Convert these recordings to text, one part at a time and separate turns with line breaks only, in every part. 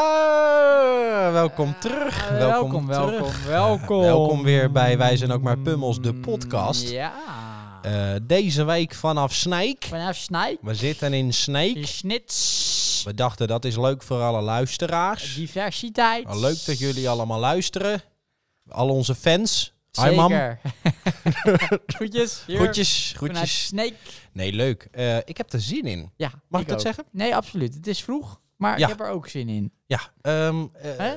Ja, welkom terug.
Ah,
welkom,
welkom,
terug.
welkom.
Welkom weer bij Wij Zijn Ook Maar Pummels, de podcast.
Ja.
Eh, deze week vanaf Snijk.
Vanaf Snij.
We zitten in
De
Snijk.
snits.
We dachten dat is leuk voor alle luisteraars.
Diversiteit.
Wel Nou, Leuk dat jullie allemaal luisteren. Al onze fans. Hi mam.
Zeker. Groetjes. hier
Groetjes,
Vanuit
groetjes.
Snake.
Nee, leuk. Eh, ik heb er zin in.
Ja.
Mag ik dat
ook.
zeggen?
Nee, absoluut. Het is vroeg, maar
Ja.
ik heb er ook zin in.
Ja. ehm, eh,
Hè?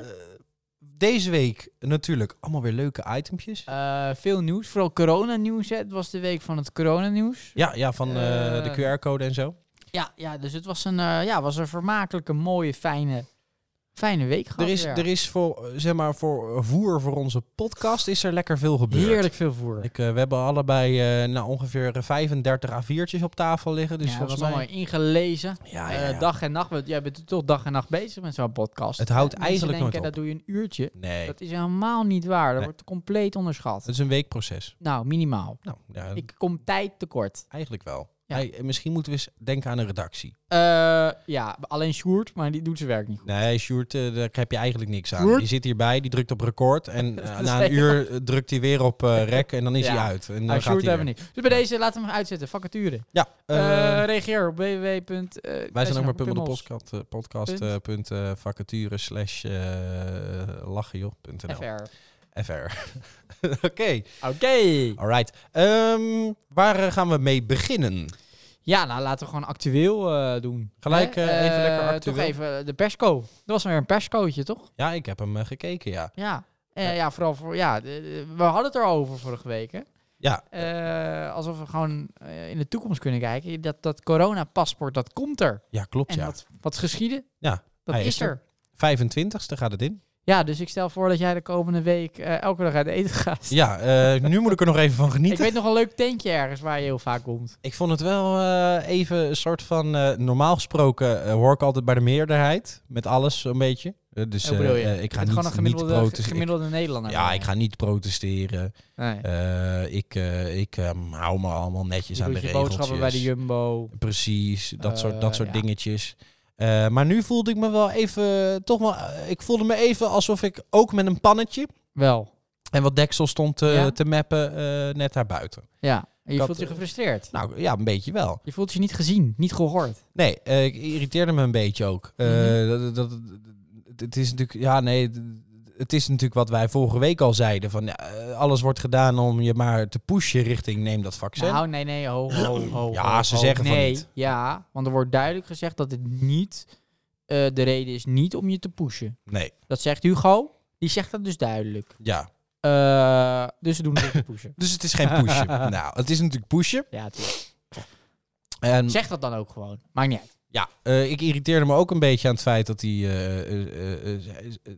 deze week natuurlijk allemaal weer leuke itempjes.
Eh, veel nieuws, vooral coronanieuws. hè. Het was de week van het coronanieuws.
Ja, ja van eh,
Eh.
de QR-code en zo.
Ja, ja dus het was een, eh, ja, was een vermakelijke, mooie, fijne, fijne week. gehad
Er is,
weer.
er is voor, eh, zeg maar, voor eh, voer voor onze podcast is er lekker veel gebeurd.
Heerlijk veel voer.
Ik, eh, we hebben allebei eh, nou, ongeveer 35 A4'tjes op tafel liggen. Dus
ja, dat was
volgens mij...
allemaal ingelezen.
Ja,
Eh,
ja, ja.
dag en nacht. want Jij bent toch dag en nacht bezig met zo'n podcast.
Het houdt
Eh,
eigenlijk
Mensen denken,
nooit op.
dat doe je een uurtje.
Nee,
Dat is helemaal niet waar. Dat
Nee.
wordt compleet onderschat.
het is een weekproces.
Nou, minimaal.
Nou, ja,
Ik kom tijd tekort.
eigenlijk wel.
Ja.
Hey, eh, misschien moeten we eens denken aan een redactie.
Eh, ja, alleen Sjoerd, maar die doet zijn werk niet goed.
Nee, Sjoerd, eh, daar heb je eigenlijk niks aan.
Sjoerd?
Die zit hierbij, die drukt op record. En eh,
is
na een uur eh, drukt hij weer op eh, rek en dan is
Ja.
hij uit. En dan
Nou,
gaat hij
Sjoerd hebben we
weer.
niet. Dus bij deze laten we hem uitzetten. Vacature.
Ja, eh,
Eh, reageer op www. eh,
Wij zijn ook maar pummel
pummel
de
pummels.
podcast, eh, podcast eh, punt, eh, vacature slash eh, lachen joh, punt NL.
FR.
FR. Oké,
Oké.
alright. Ehm, waar eh, gaan we mee beginnen?
Ja, nou laten we gewoon actueel eh, doen.
Gelijk,
Hè?
eh, even
Eh,
lekker actueel.
Toch even eh, de persco. Er was weer een perscootje, toch?
Ja, ik heb hem eh, gekeken, ja.
Ja. Eh,
Ja.
ja. vooral voor. Ja, de- de- we hadden het erover vorige week. Hè?
Ja,
Eh, alsof we gewoon eh, in de toekomst kunnen kijken. Dat, dat coronapaspoort, dat komt er.
ja klopt
En
ja.
wat, wat is geschieden?
Ja,
Dat
hij
is,
is er.
er.
25ste gaat het in.
Ja, dus ik stel voor dat jij de komende week eh, elke dag uit eten gaat.
Ja, eh, nu moet ik er nog even van
Ik
genieten. Ik,
weet nog een leuk tentje ergens waar je heel vaak komt.
vond het wel eh, even een soort van... eh, normaal gesproken eh, hoor ik altijd bij de meerderheid. Met alles een beetje. Eh, dus
Hoe Oh, bedoel je?
eh, eh, ik ga
Het
niet,
gewoon een
niet
gemiddelde,
protesteren. Ik-
gemiddelde Nederlander.
Ja,
worden.
ik ga niet protesteren.
Nee.
Eh, ik eh, ik ehm, hou me allemaal netjes
Je
aan
doet
de
je
regeltjes.
boodschappen bij de Jumbo.
Precies, dat soort, dat
Eh,
soort
ja.
dingetjes. Eh, maar nu voelde ik me wel even, toch wel, eh, ik voelde me even alsof ik ook met een pannetje
Wel.
en wat deksel stond eh,
Ja?
te mappen eh, net daarbuiten.
Ja. En je
had,
voelt je
eh,
gefrustreerd.
Nou ja, een beetje wel.
Je voelt je niet gezien, niet gehoord.
Nee, eh, ik irriteerde me een beetje ook. Eh,
Mhm.
dat, dat, dat- het is natuurlijk, ja, nee, het- het is natuurlijk wat wij vorige week al zeiden: van ja, eh, alles wordt gedaan om je maar te pushen richting neem dat vaccin.
Nou, nee, nee, ho, ho, ho.
Oh, Ja,
ho,
ze
ho.
zeggen van
nee,
niet.
Ja, want er wordt duidelijk gezegd dat het niet... eh, de reden is niet om je te pushen.
nee,
Dat zegt Hugo. Die zegt dat dus duidelijk.
ja.
Eh, dus ze doen het om te pushen.
Dus het is geen pushen. nou, het is natuurlijk pushen.
Ja, tuurlijk.
En
Zeg dat dan ook gewoon. Maakt niet uit.
ja, eh, ik irriteerde me ook een beetje aan het feit dat hij. eh, eh, eh, eh,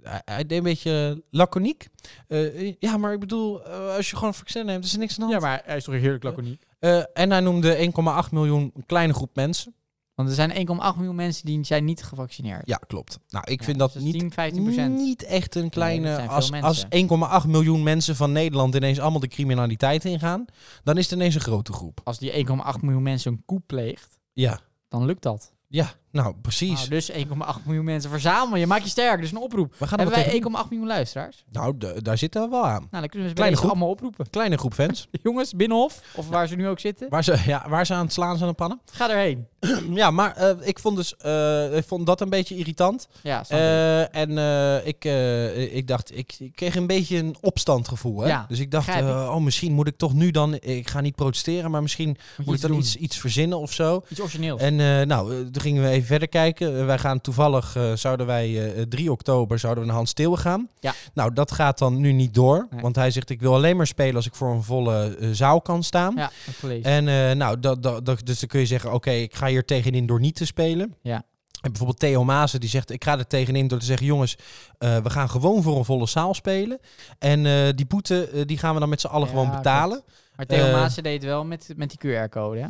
hij- hij deed een beetje laconiek. Eh, eh, ja, maar ik bedoel, eh, als je gewoon een vaccin neemt, is er niks aan de hand.
maar hij is toch heerlijk laconiek.
Eh, en hij noemde 1,8 miljoen een kleine groep mensen.
Want er zijn 1,8 miljoen mensen die zijn niet gevaccineerd.
Ja, klopt. Nou, ik
Ja,
vind
dus
dat
is
niet. Mm.
10, 15 procent.
Niet echt een kleine.
dat zijn veel
als als 1,8
mensen.
miljoen mensen van Nederland ineens allemaal de criminaliteit ingaan, dan is het ineens een grote groep.
Als die 1,8 miljoen mensen een koep pleegt,
Ja,
dan lukt dat.
ja nou precies.
Nou, dus 1,8 miljoen mensen verzamel je, maak je sterk. Dus een oproep.
We gaan er
Hebben wij
wel
1,8 miljoen luisteraars?
tegen- Nou, de- daar zitten we wel aan.
Nou, dan kunnen we ze bij
Kleine
deze
groep.
allemaal oproepen.
Kleine groep fans.
Jongens, Binnenhof, of waar ze nu ook zitten,
waar, ze, ja, waar ze aan het slaan zijn aan pannen.
ga erheen.
ja, maar eh, ik, vond dus, eh, ik vond dat een beetje irritant.
Ja, snap ik.
Eh, en eh, ik, eh, ik dacht, ik, ik kreeg een beetje een opstandgevoel. Hè?
Ja,
dus ik dacht,
begrijp ik.
eh, oh, misschien moet ik toch nu dan... Ik ga niet protesteren, maar misschien
Moet je
moet ik
iets
dan
doen.
iets, iets verzinnen of zo.
Iets origineels.
En eh, nou, eh, toen gingen we even verder kijken. Eh, wij gaan toevallig, eh, zouden wij eh, eh, 3 oktober zouden we naar Hans Steeuwen gaan.
Ja.
Nou, dat gaat dan nu niet door.
Nee.
Want hij zegt, ik wil alleen maar spelen als ik voor een volle eh, zaal kan staan.
ja, dat gelezen.
En eh, nou, dat, dat, dat- dus dan kun je zeggen, oké, ik ga hier tegenin door niet te spelen.
Ja.
En bijvoorbeeld Theo Maasen die zegt, ik ga er tegenin door te zeggen, jongens, eh, we gaan gewoon voor een volle zaal spelen. En eh, die boete, eh, die gaan we dan met z'n allen
Ja,
gewoon betalen.
maar Theo
eh,
Maassen deed het wel met, met die QR-code, hè?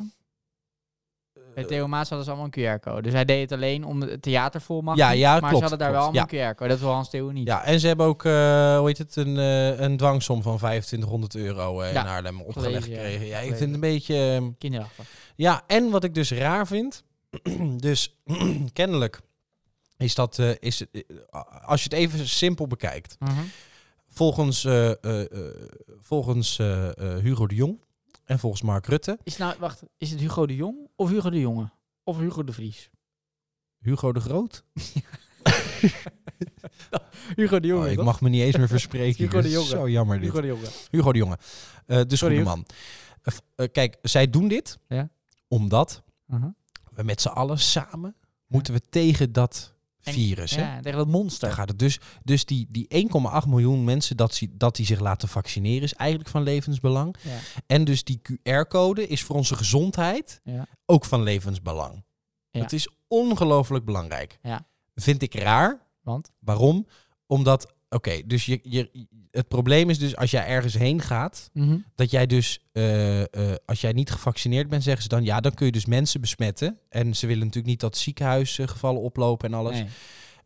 Bij Theo Maas hadden ze allemaal een QR-code. Dus hij deed het alleen om het theater vol mag.
Ja, ja,
maar
klopt,
ze hadden daar
klopt,
wel allemaal een QR-code. Dat wil Hans Theo niet.
Ja, en ze hebben ook, eh, hoe heet het, een, eh, een dwangsom van 2500 euro eh,
Ja,
in Haarlem opgelegd
gelezen, ja.
gekregen. Ja, ik
Gelezen.
vind het een beetje... ehm,
Kinderachtig.
ja, en wat ik dus raar vind, dus kennelijk is dat, eh, is, eh, als je het even simpel bekijkt.
Mhm.
Volgens, eh, eh, eh, volgens eh, eh, Hugo de Jong en volgens Mark Rutte.
Is, nou, wacht, is het Hugo de Jong of Hugo de Jonge? Of Hugo de Vries?
Hugo de Groot?
Hugo de
Oh, ik
toch?
mag me niet eens meer verspreken.
Hugo de
Dit is
Jonge.
Zo jammer dit.
Hugo de Jonge.
Hugo de Jonge. Eh, dus
Sorry,
goede man. Eh, f- eh, kijk, zij doen dit
Ja.
omdat
Mhm.
we met z'n allen samen moeten we tegen dat
En-
virus. hè?
Ja, tegen dat
Daar
monster.
gaat het dus. Dus die, die 1,8 miljoen mensen dat, zie- dat die zich laten vaccineren is eigenlijk van levensbelang.
Ja.
En dus die QR-code is voor onze gezondheid
Ja.
ook van levensbelang.
Ja.
Het is ongelooflijk belangrijk.
Ja.
Vind ik raar.
Want?
Waarom? Omdat, oké, dus je, je, het probleem is dus als jij ergens heen gaat,
Mhm.
dat jij dus, eh, eh, als jij niet gevaccineerd bent, zeggen ze dan, ja, dan kun je dus mensen besmetten. En ze willen natuurlijk niet dat ziekenhuisgevallen oplopen en alles.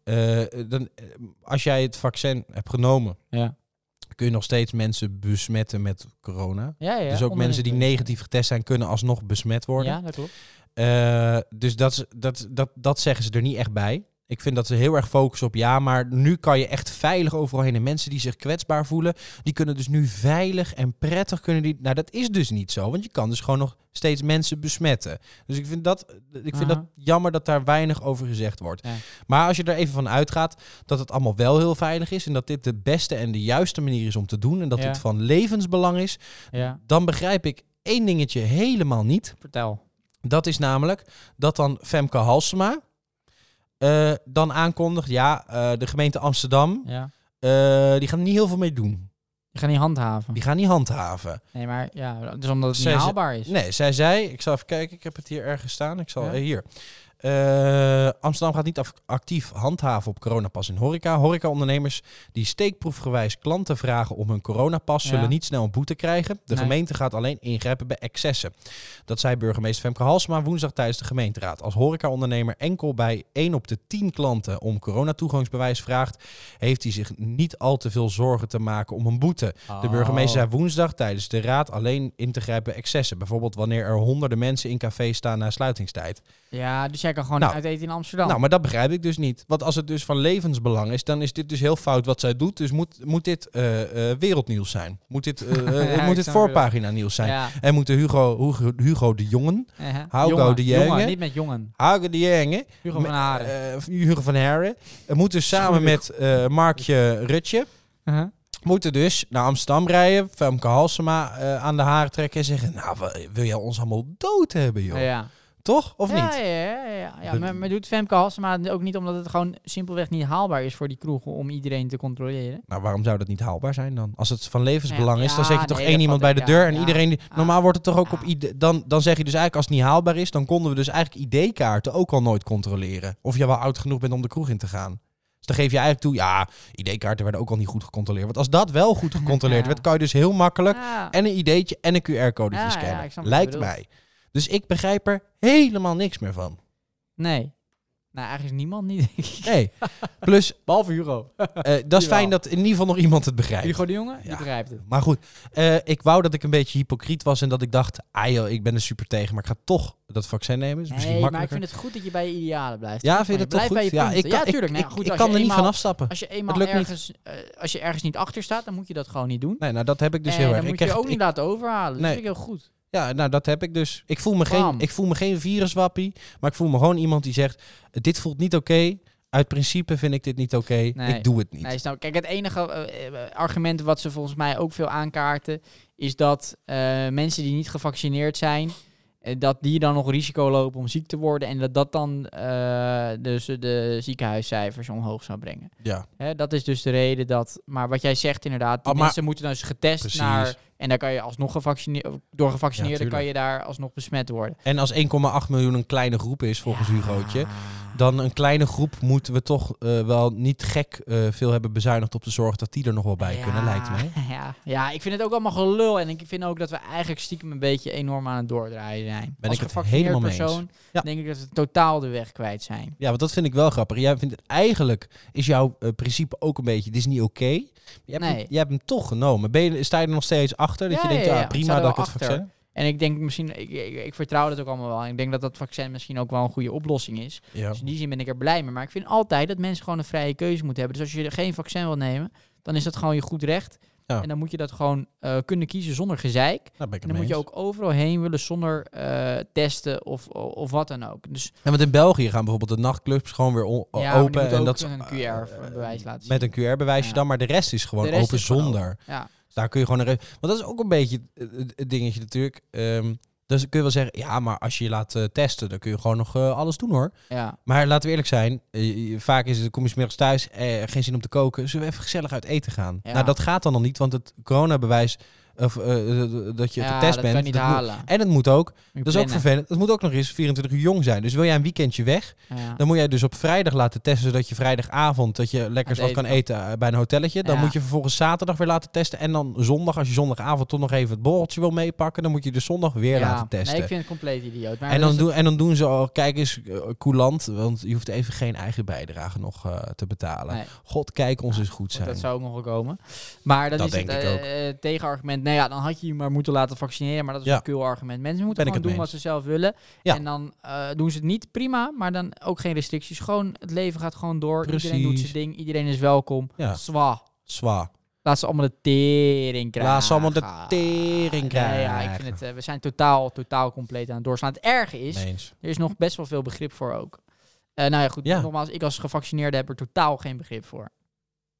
Nee.
Eh, dan, eh, als jij het vaccin hebt genomen,
Ja.
kun je nog steeds mensen besmetten met corona.
Ja, ja,
dus ook mensen die
onderin-
negatief getest zijn, kunnen alsnog besmet worden.
Ja, dat klopt.
Eh, dus dat, is- dat, dat, dat zeggen ze er niet echt bij. Ik vind dat ze heel erg focussen op ja, maar nu kan je echt veilig overal heen. En mensen die zich kwetsbaar voelen, die kunnen dus nu veilig en prettig kunnen die. Nou, dat is dus niet zo, want je kan dus gewoon nog steeds mensen besmetten. Dus ik vind dat, ik vind dat
Aha.
jammer dat daar weinig over gezegd wordt.
Ja.
Maar als je er even van uitgaat dat het allemaal wel heel veilig is en dat dit de beste en de juiste manier is om te doen en dat
Ja.
dit van levensbelang is,
Ja,
dan begrijp ik één dingetje helemaal niet.
vertel.
Dat is namelijk dat dan Femke Halsema eh, dan aankondigt... ja, eh, de gemeente Amsterdam,
Ja.
eh, die gaan er niet heel veel mee doen.
Je gaat niet handhaven.
Die gaan niet handhaven.
Nee, maar ja, dus omdat het
Zij
niet
ze-
haalbaar is.
Nee, zij zei... Ik zal even kijken, ik heb het hier ergens staan. Ik zal...
Ja?
eh, hier. Eh, Amsterdam gaat niet af- actief handhaven op coronapas in horeca. Horecaondernemers die steekproefgewijs klanten vragen om hun coronapas...
Ja.
zullen niet snel een boete krijgen. De
Nee.
gemeente gaat alleen ingrijpen bij excessen. Dat zei burgemeester Femke Halsma woensdag tijdens de gemeenteraad. Als horecaondernemer enkel bij 1 op de 10 klanten om coronatoegangsbewijs vraagt... heeft hij zich niet al te veel zorgen te maken om een boete. De burgemeester
Oh.
zei woensdag tijdens de raad alleen in te grijpen bij excessen. Bijvoorbeeld wanneer er honderden mensen in cafés staan na sluitingstijd.
Ja, dus jij kan gewoon
Nou.
uit eten in Amsterdam.
Nou, maar dat begrijp ik dus niet. Want als het dus van levensbelang is, dan is dit dus heel fout wat zij doet. Dus moet, moet dit eh, eh, wereldnieuws zijn? Moet dit, eh, eh,
Ja, ik
moet dit
snap je
voorpagina nieuws zijn?
Ja.
En moeten Hugo, Hugo, Hugo de Jongen,
eh,
Hugo
jongen,
de
jongen,
Jonge.
niet met jongen.
Hugo de Jonge,
Hugo
Me-
van Haren.
eh, Hugo van Herren, eh, moeten samen met eh, Markje Rutje,
Uh-huh.
moeten dus naar Amsterdam rijden, Femke Halsema eh, aan de haren trekken en zeggen, nou, wa- wil jij ons allemaal dood hebben, joh?
Ja.
Toch? Of
ja,
niet?
Ja, ja, ja. ja.
De-
Maar, maar doet Femke Halsema het ook niet omdat het gewoon simpelweg niet haalbaar is voor die kroegen om iedereen te controleren?
Nou, waarom zou dat niet haalbaar zijn dan? Als het van levensbelang
Ja,
is, dan zeg je
ja,
toch
nee,
één
dat
iemand bij
vat
de
ik,
deur
ja,
en
ja.
iedereen... die-
Ah,
normaal wordt het toch ook op...
ah.
ide- dan, dan zeg je dus eigenlijk als het niet haalbaar is... dan konden we dus eigenlijk ID-kaarten ook al nooit controleren. Of je wel oud genoeg bent om de kroeg in te gaan. Dus dan geef je eigenlijk toe, ja, ID-kaarten werden ook al niet goed gecontroleerd. Want als dat wel goed gecontroleerd
Ja.
werd, kan je dus heel makkelijk...
Ja.
en een ideetje en een QR-codetje
Ja, ja,
scannen.
ik snap wat je
Lijkt
bedoelt.
mij. Dus ik begrijp er helemaal niks meer van.
Nee. Nou, eigenlijk is niemand niet, denk ik.
Nee. Plus,
Behalve Hugo.
eh, dat is
Jawel.
fijn dat in ieder geval nog iemand het begrijpt.
Hugo de Jonge, die
Ja.
begrijpt het.
Maar goed, eh, ik wou dat ik een beetje hypocriet was en dat ik dacht, ah joh, ik ben er super tegen, maar ik ga toch dat vaccin nemen. Is misschien
Nee, maar ik
makkelijker.
vind het goed dat je bij je idealen blijft.
ja, vind je dat
Maar
toch
je blijft bij
goed?
je
Ja,
punten.
ik kan,
Ja,
Ik,
tuurlijk. Nee,
ik-
goed,
ik
als
kan
je
er niet
eenmaal-
van afstappen.
Als je eenmaal
lukt niet.
ergens, eh, als je ergens niet achter staat, dan moet je dat gewoon niet doen.
Nee, nou dat heb ik dus
en
heel
dan
erg. Ik
moet je je
krijg,
ook niet
ik-
laten overhalen. Dat
Nee.
vind ik heel goed.
ja, nou dat heb ik dus. Ik voel me geen,
Bam.
ik voel me geen viruswappie, maar ik voel me gewoon iemand die zegt, dit voelt niet oké. Uit principe vind ik dit niet oké.
Nee.
Ik doe het niet.
Nee, snap ik. Kijk, het enige eh, eh, argument wat ze volgens mij ook veel aankaarten, is dat eh, mensen die niet gevaccineerd zijn, eh, dat die dan nog risico lopen om ziek te worden en dat dat dan eh, dus de ziekenhuiscijfers omhoog zou brengen.
Ja.
Hè, dat is dus de reden dat, maar wat jij zegt inderdaad, die
Ah, maar-
mensen moeten dus getest
Precies.
naar, en daar kan je alsnog gevaccineerd, door gevaccineerden
Ja,
kan je daar alsnog besmet worden.
En als 1,8 miljoen een kleine groep is volgens Hugootje, dan een kleine groep moeten we toch eh, wel niet gek eh, veel hebben bezuinigd op de zorg dat die er nog wel bij kunnen, lijkt mij.
Ja. ja, ik vind het ook allemaal gelul. En ik vind ook dat we eigenlijk stiekem een beetje enorm aan het doordraaien zijn.
Ben
Als
ik het
gevaccineerd
helemaal mee eens.
persoon
Ja.
denk ik dat we totaal de weg kwijt zijn.
Ja, want dat vind ik wel grappig. Jij vindt het eigenlijk, is jouw eh, principe ook een beetje, dit is niet oké. Je hebt,
Nee.
hem, je hebt hem toch genomen. Ben je, sta je er nog steeds achter? Dat
Ja,
je denkt,
ja,
ja,
ja, ik sta
prima
er
dat
wel
ik het
achter.
vaccin...
En En ik denk misschien, ik, ik, ik vertrouw dat ook allemaal wel. Ik denk dat dat vaccin misschien ook wel een goede oplossing is.
Ja.
Dus in die zin ben ik er blij mee. Maar ik vind altijd dat mensen gewoon een vrije keuze moeten hebben. Dus als je geen vaccin wil nemen, dan is dat gewoon je goed recht.
Ja.
En dan moet je dat gewoon eh, kunnen kiezen zonder gezeik.
Daar ben ik
En
het
dan
mee
moet je
eens.
ook overal heen willen zonder eh, testen of, of, of wat dan ook. Dus
Ja, want in België gaan bijvoorbeeld de nachtclubs gewoon weer on-
Ja, maar die
open.
moeten
en
ook
dat
een QR-bewijs laten
Met een QR-bewijsje
Ja.
dan, maar de rest is gewoon
De rest
open
is gewoon
zonder.
ja,
Dus daar kun je gewoon een. re- Want dat is ook een beetje eh, het dingetje natuurlijk. Ehm, dus kun je wel zeggen, ja, maar als je je laat eh, testen, dan kun je gewoon nog eh, alles doen hoor.
ja.
Maar laten we eerlijk zijn, eh, je- vaak is het, kom je 's middags thuis, eh, geen zin om te koken. Zullen we even gezellig uit eten gaan?
Ja.
Nou, dat gaat dan nog niet, want het coronabewijs, of eh, eh, dat je op
ja,
de test
dat
bent.
kan niet
dat moet-
halen.
en het moet ook,
Moet je
dat is ook
plannen.
vervelend, het moet ook nog eens 24 uur jong zijn. Dus wil jij een weekendje weg,
Ja.
dan moet jij dus op vrijdag laten testen, zodat je vrijdagavond dat je lekker
Aan
wat kan
het
eten eh, bij een hotelletje. Dan
Ja.
moet je vervolgens zaterdag weer laten testen. En dan zondag, als je zondagavond toch nog even het borreltje wil meepakken, dan moet je dus zondag weer
Ja.
laten testen.
Nee, ik vind het compleet idioot. Maar dus
en,
dat
dan
is
doen, en dan doen ze al, kijk eens, eh, coulant, want je hoeft even geen eigen bijdrage nog eh, te betalen.
Nee.
God, kijk ons
Ja,
eens goed
Want
zijn.
Dat zou ook nog wel komen. Maar dat,
Dat
is
denk
het
ik ook.
eh, eh, tegenargument. Nou ja, dan had je je maar moeten laten vaccineren. Maar dat is
Ja.
een kul argument. Mensen moeten
Ben ik
gewoon doen
het
wat ze zelf willen.
Ja.
En dan eh, doen ze het niet prima. Maar dan ook geen restricties. Gewoon het leven gaat gewoon door. Iedereen doet
Precies.
zijn ding. Iedereen is welkom.
Ja.
Zwa.
Zwa.
Laat ze allemaal de tering krijgen.
Laat ze allemaal de tering
Nee, ja, ik
krijgen.
vind het, eh, we zijn totaal, totaal compleet aan het doorslaan. Het erge is,
Mee eens.
er is nog best wel veel begrip voor ook. Eh, nou ja, goed.
Ja.
Nogmaals, ik als gevaccineerde heb er totaal geen begrip voor.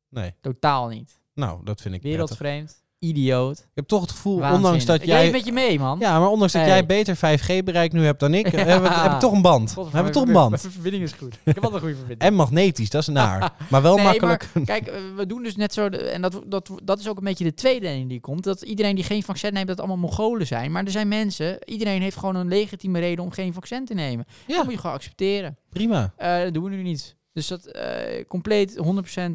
Nee.
Totaal niet.
Nou, dat vind ik prettig.
Wereldvreemd. Idioot.
Ik heb toch het gevoel,
Waanzinnig.
ondanks dat
ik
jij...
leef met je mee, man.
Ja, maar ondanks dat
Hey.
jij beter 5G-bereik nu hebt dan ik,
Ja.
hebben we heb ik toch een band. We
Godverdomme,
hebben toch een
mijn-
band.
Mijn verbinding is goed. Ik heb altijd een goede verbinding.
En magnetisch, dat is naar. Maar wel
Nee,
makkelijk.
Kijk, eh, we doen dus net zo... de- En dat, dat, dat is ook een beetje de tweede ding die komt. Dat iedereen die geen vaccin neemt, dat allemaal Mongolen zijn. Maar er zijn mensen... Iedereen heeft gewoon een legitieme reden om geen vaccin te nemen.
Ja,
Dat moet je gewoon accepteren.
prima.
Eh, dat doen we nu niet. Dus dat eh, compleet